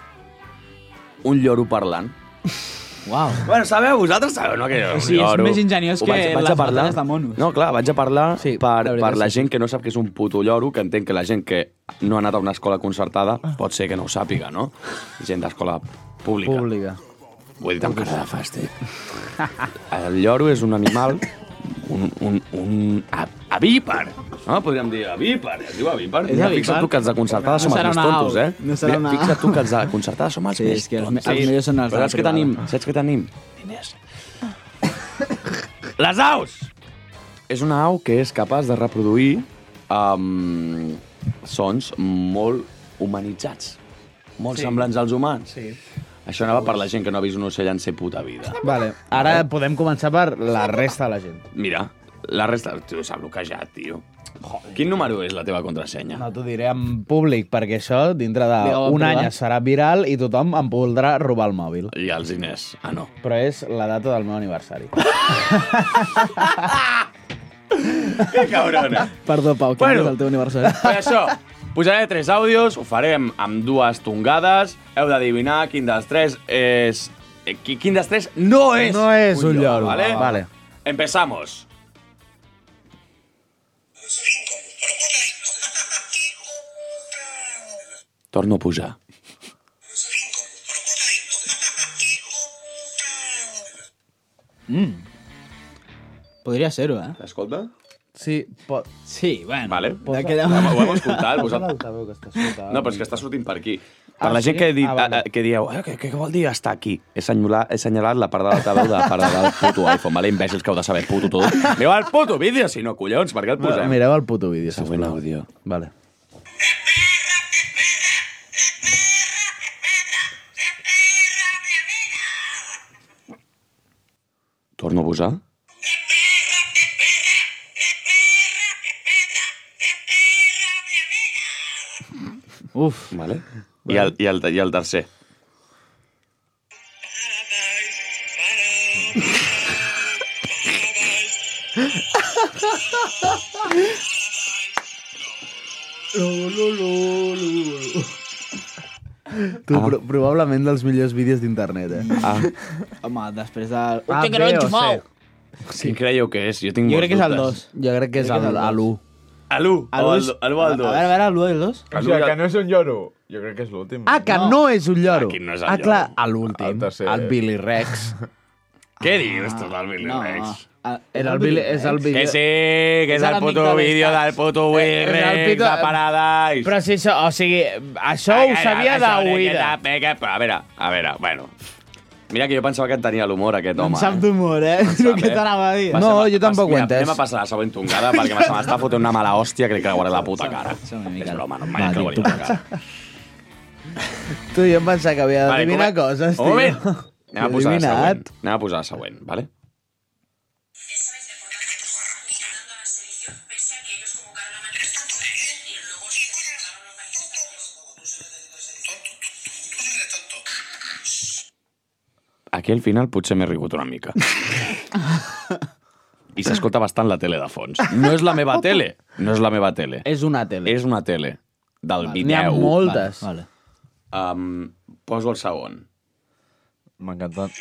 Speaker 8: un lloro parlant.
Speaker 9: Uau.
Speaker 8: Bueno, sabeu, vosaltres sabeu, no? Que jo,
Speaker 9: O sigui, és més ingeniós
Speaker 8: Ho
Speaker 9: que les batalles de monos.
Speaker 8: No, clar, vaig a parlar sí, per, la
Speaker 9: veritat,
Speaker 8: per la
Speaker 9: sí,
Speaker 8: gent que no sap que és un puto lloro, que entenc que la gent que no ha anat a una escola concertada
Speaker 9: Ah.
Speaker 8: pot ser que no ho sàpiga, no? Gent d'escola pública.
Speaker 3: Pública.
Speaker 8: Ho he dit amb cara de fàstic. *laughs* El lloro és un animal, un, un, un a- avípar, no? Podríem dir avípar, es diu avípar.
Speaker 9: És
Speaker 8: Mira,
Speaker 9: avípar.
Speaker 8: fixa't tu que els de concertada som
Speaker 9: No
Speaker 8: els
Speaker 9: serà
Speaker 8: més
Speaker 9: una
Speaker 8: tontos,
Speaker 9: au.
Speaker 8: eh?
Speaker 9: No serà
Speaker 8: Mira,
Speaker 9: una
Speaker 8: Fixa't tu
Speaker 9: au.
Speaker 8: que els de concertada som els
Speaker 9: Sí,
Speaker 8: més
Speaker 9: és que els me-
Speaker 8: tontos.
Speaker 9: els millors són els de
Speaker 8: Però
Speaker 9: la
Speaker 8: saps què
Speaker 9: privada.
Speaker 8: tenim? Saps què tenim? Ah. Les aus! És una au que és capaç de reproduir um, sons molt humanitzats, molt
Speaker 3: Sí.
Speaker 8: sí. semblants als humans.
Speaker 3: Sí.
Speaker 8: Això anava per la gent que no ha vist un ocell en ser puta vida.
Speaker 3: Vale. Ara podem començar per la resta de la gent.
Speaker 8: Mira, la resta... Tio, s'ha bloquejat, tio. Quin número és la teva contrasenya?
Speaker 3: No t'ho diré en públic, perquè això dintre
Speaker 8: Ja ho vam
Speaker 3: d'un any
Speaker 8: provar.
Speaker 3: es farà viral i tothom em voldrà robar el mòbil.
Speaker 8: I els diners. Ah, no.
Speaker 3: Però és la data del meu aniversari.
Speaker 8: Que cabrona.
Speaker 9: Perdó, Pau, quin
Speaker 8: Bueno.
Speaker 9: és el teu aniversari?
Speaker 8: Per això, posaré tres àudios, ho farem amb dues tongades, heu d'adivinar quin dels tres és... eh, qui- Quin dels tres no és
Speaker 3: No és un lloro,
Speaker 8: Vale?
Speaker 3: vale.
Speaker 8: Empezamos. Torno a pujar.
Speaker 9: Mm. Podria ser-ho, eh?
Speaker 8: Escolta.
Speaker 3: Sí, pot...
Speaker 9: Sí, bueno.
Speaker 8: Vale.
Speaker 9: D'aquella-
Speaker 8: Ho hem escoltat,
Speaker 3: Posa
Speaker 8: vosaltres.
Speaker 3: l'altaveu que està sota.
Speaker 8: No, però és que està sortint per aquí. Per
Speaker 3: Ah,
Speaker 8: la gent
Speaker 3: sí?
Speaker 8: que, di
Speaker 3: Ah,
Speaker 8: ah,
Speaker 3: vale.
Speaker 8: que dieu, eh, què, què vol dir estar aquí? He senyolat, he senyalat la part de l'altaveu de la part del puto iPhone, vale? Imbècils que heu de saber puto tot. Aneu al puto vídeo, si no, collons, per què el posem?
Speaker 3: Mireu el puto vídeo, sisplau.
Speaker 8: Següent àudio.
Speaker 3: Vale.
Speaker 8: Torno a posar?
Speaker 9: Uf.
Speaker 8: Vale. I el, i el, i el tercer.
Speaker 3: Tu, ah. pro probablement dels millors vídeos d'internet, eh? Ah,
Speaker 8: Ah.
Speaker 9: Home, després del...
Speaker 3: Ho tinc no enxufat.
Speaker 8: Sí. Quin creieu que és? Jo tinc
Speaker 9: Jo
Speaker 8: molts
Speaker 9: crec que és el
Speaker 8: dubtes.
Speaker 9: 2.
Speaker 3: Jo crec que és el- a l'1.
Speaker 8: A l'1
Speaker 9: A
Speaker 8: o
Speaker 9: l'u
Speaker 8: al
Speaker 9: és-
Speaker 8: do- a l'u o al
Speaker 9: A
Speaker 8: 2?
Speaker 9: veure, a veure, l'1 i el 2.
Speaker 2: O sigui, que no és un lloro. Jo crec que és l'últim.
Speaker 3: Ah, que no. no és un lloro.
Speaker 8: Aquí no és el
Speaker 3: ah,
Speaker 8: lloro.
Speaker 3: clar, a l'últim,
Speaker 2: tercer.
Speaker 3: el, Billy Rex.
Speaker 8: *laughs* Què dius, tu, del
Speaker 3: Ah,
Speaker 8: Billy Rex?
Speaker 3: Era el Billy, és el vídeo...
Speaker 8: Que sí, que és el puto vídeo del puto Billy Rex, de Paradise.
Speaker 3: Però si això, o sigui, això ho sabia
Speaker 8: Això,
Speaker 3: d'oïda.
Speaker 8: neta, peca, Però a veure, a veure, bueno. Mira que jo pensava que tenia l'humor, aquest home.
Speaker 9: Em sap d'humor, eh? És el que t'anava a dir.
Speaker 8: Va, se m'ha- Mira, Anem a passar la següent tongada, perquè se m'està fotent una mala hòstia que li creuaré la puta cara. És broma, no mai creuaré la cara.
Speaker 3: Tu, jo em pensava que havia
Speaker 8: Vale,
Speaker 3: d'adivinar
Speaker 8: comen-
Speaker 3: coses, tio.
Speaker 8: Un
Speaker 3: *laughs*
Speaker 8: moment. Anem a
Speaker 3: He
Speaker 8: posar la següent.
Speaker 3: adivinat.
Speaker 8: Anem a posar la següent, vale? Aquí al final potser m'he rigut una mica. I s'escolta bastant la tele de fons. No és la meva tele. No és la meva tele.
Speaker 3: És una tele.
Speaker 8: És una tele. Del vídeo.
Speaker 3: N'hi ha moltes.
Speaker 9: Vale.
Speaker 8: Um, poso el segon.
Speaker 2: M'ha encantat.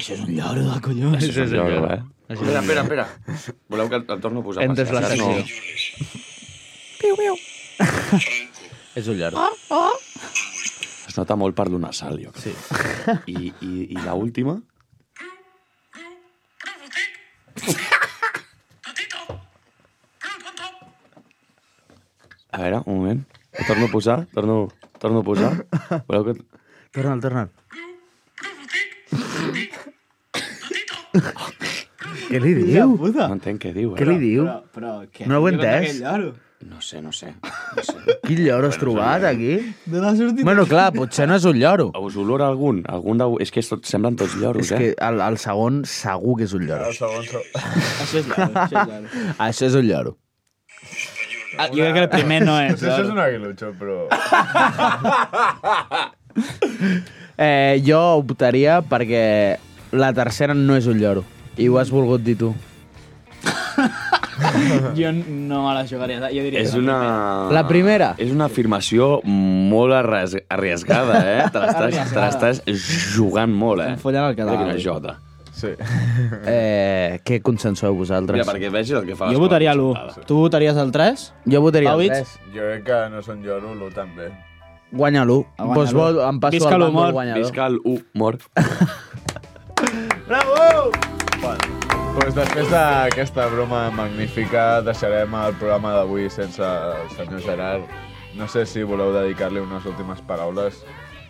Speaker 9: Això és un lloro de collons.
Speaker 8: Això és
Speaker 9: un
Speaker 8: allò,
Speaker 9: lloro,
Speaker 8: eh? Espera, espera, espera. Voleu que el, el torno a posar?
Speaker 3: Entres
Speaker 8: per
Speaker 3: la
Speaker 8: si
Speaker 3: secció.
Speaker 8: acaso?
Speaker 9: Piu, piu.
Speaker 3: És un lloro.
Speaker 8: Oh, Es nota molt per donar sal, jo crec. Sí. I, i, i l'última? A veure, un moment. Ho torno a posar, torno, torno a posar. Voleu que...
Speaker 3: Torna'l, torna'l. Què li diu?
Speaker 8: No entenc què diu, eh?
Speaker 3: Què li diu?
Speaker 9: Però, però, què?
Speaker 3: No ho he entès.
Speaker 9: Aquell lloro.
Speaker 8: eh? No sé, no sé.
Speaker 3: Quin lloro has trobat, aquí?
Speaker 8: De la sortida.
Speaker 3: Bueno, clar, potser no és un lloro.
Speaker 8: Us olora algun? algun de... És que tot, semblen tots lloros,
Speaker 3: És que
Speaker 8: eh?
Speaker 3: el, el segon segur que és un lloro.
Speaker 9: Això és llarg, això és llarg.
Speaker 3: *laughs* Això és un lloro.
Speaker 9: Ah, jo crec que el primer no és.
Speaker 2: sé si és un aguilucho, però...
Speaker 3: Eh, jo optaria perquè la tercera no és un lloro. I ho has volgut dir tu.
Speaker 9: Jo no me la jugaria. Jo diria
Speaker 8: És
Speaker 9: que no.
Speaker 8: una...
Speaker 2: Ah.
Speaker 3: La primera.
Speaker 8: És una afirmació molt arres- arriesgada, eh?
Speaker 3: *laughs*
Speaker 8: Te l'estàs te l'estàs jugant molt, eh?
Speaker 3: follant el cadàver.
Speaker 8: Mira quina jota.
Speaker 2: Sí.
Speaker 3: Eh, què consensueu vosaltres?
Speaker 8: Mira, perquè vegis el que fa
Speaker 9: Jo votaria l'1. Tu votaries el 3?
Speaker 3: Jo votaria el tres.
Speaker 2: Jo crec que no són lloro, l'1 també.
Speaker 3: Guanya l'1.
Speaker 9: Ah,
Speaker 2: guanya
Speaker 3: Doncs vol,
Speaker 2: l'1.
Speaker 3: em passo
Speaker 2: Visca
Speaker 3: el bàndol
Speaker 2: l'humor.
Speaker 3: guanyador.
Speaker 8: Visca l'humor.
Speaker 2: Bravo! Bueno, doncs després d'aquesta broma magnífica deixarem el programa d'avui sense el senyor Gerard. No sé si voleu dedicar-li unes últimes paraules.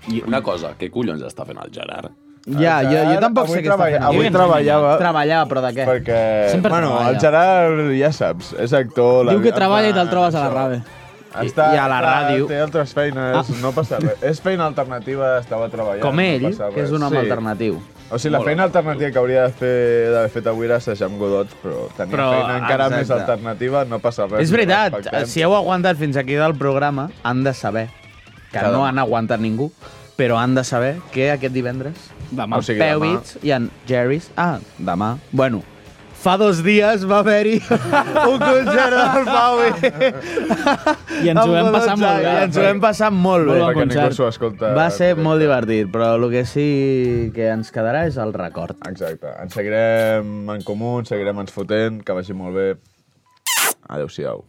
Speaker 8: I una cosa, què collons està fent el Gerard?
Speaker 3: Ja,
Speaker 2: El
Speaker 3: jo, jo
Speaker 2: Gerard
Speaker 3: tampoc
Speaker 2: avui
Speaker 3: sé què està
Speaker 2: treballa-
Speaker 3: fent.
Speaker 2: avui treballava-
Speaker 3: Treballava, però de què?
Speaker 2: Perquè,
Speaker 3: Sempre
Speaker 2: bueno,
Speaker 3: treballa.
Speaker 2: el Gerard, ja saps, és actor...
Speaker 3: Diu que treballa i
Speaker 9: te'l trobes a la rave.
Speaker 2: Està,
Speaker 3: I a la ràdio. Ah.
Speaker 2: Té altres feines, no passa res. És feina alternativa, estava treballant.
Speaker 3: Com ell,
Speaker 2: no passa
Speaker 3: que és
Speaker 2: res.
Speaker 3: un home alternatiu.
Speaker 2: O sigui, la
Speaker 3: Molt
Speaker 2: feina alternativa que hauria de fer d'haver fet avui era assajar amb Godot, però tenia
Speaker 3: Però,
Speaker 2: feina encara
Speaker 3: exacte.
Speaker 2: més alternativa, no passa res.
Speaker 3: És veritat,
Speaker 2: ho respectem.
Speaker 3: si heu aguantat fins aquí del programa, han de saber que
Speaker 2: Cada-
Speaker 3: no han aguantat ningú, però han de saber que aquest divendres
Speaker 9: Demà.
Speaker 3: en
Speaker 9: O sigui, demà.
Speaker 3: Pewits i en Jerry's... Ah, demà. Bueno, fa dos dies va haver-hi *laughs* un concert del Pau
Speaker 9: I ens ho vam passar molt bé.
Speaker 3: I ens ho vam passar molt bé.
Speaker 2: Molt bon Perquè ningú concert. s'ho escolta
Speaker 3: Va ser molt divertit, però el que sí que ens quedarà és el record.
Speaker 2: Exacte. Ens seguirem en comú, ens seguirem ens fotent, que vagi molt bé. Adéu-siau.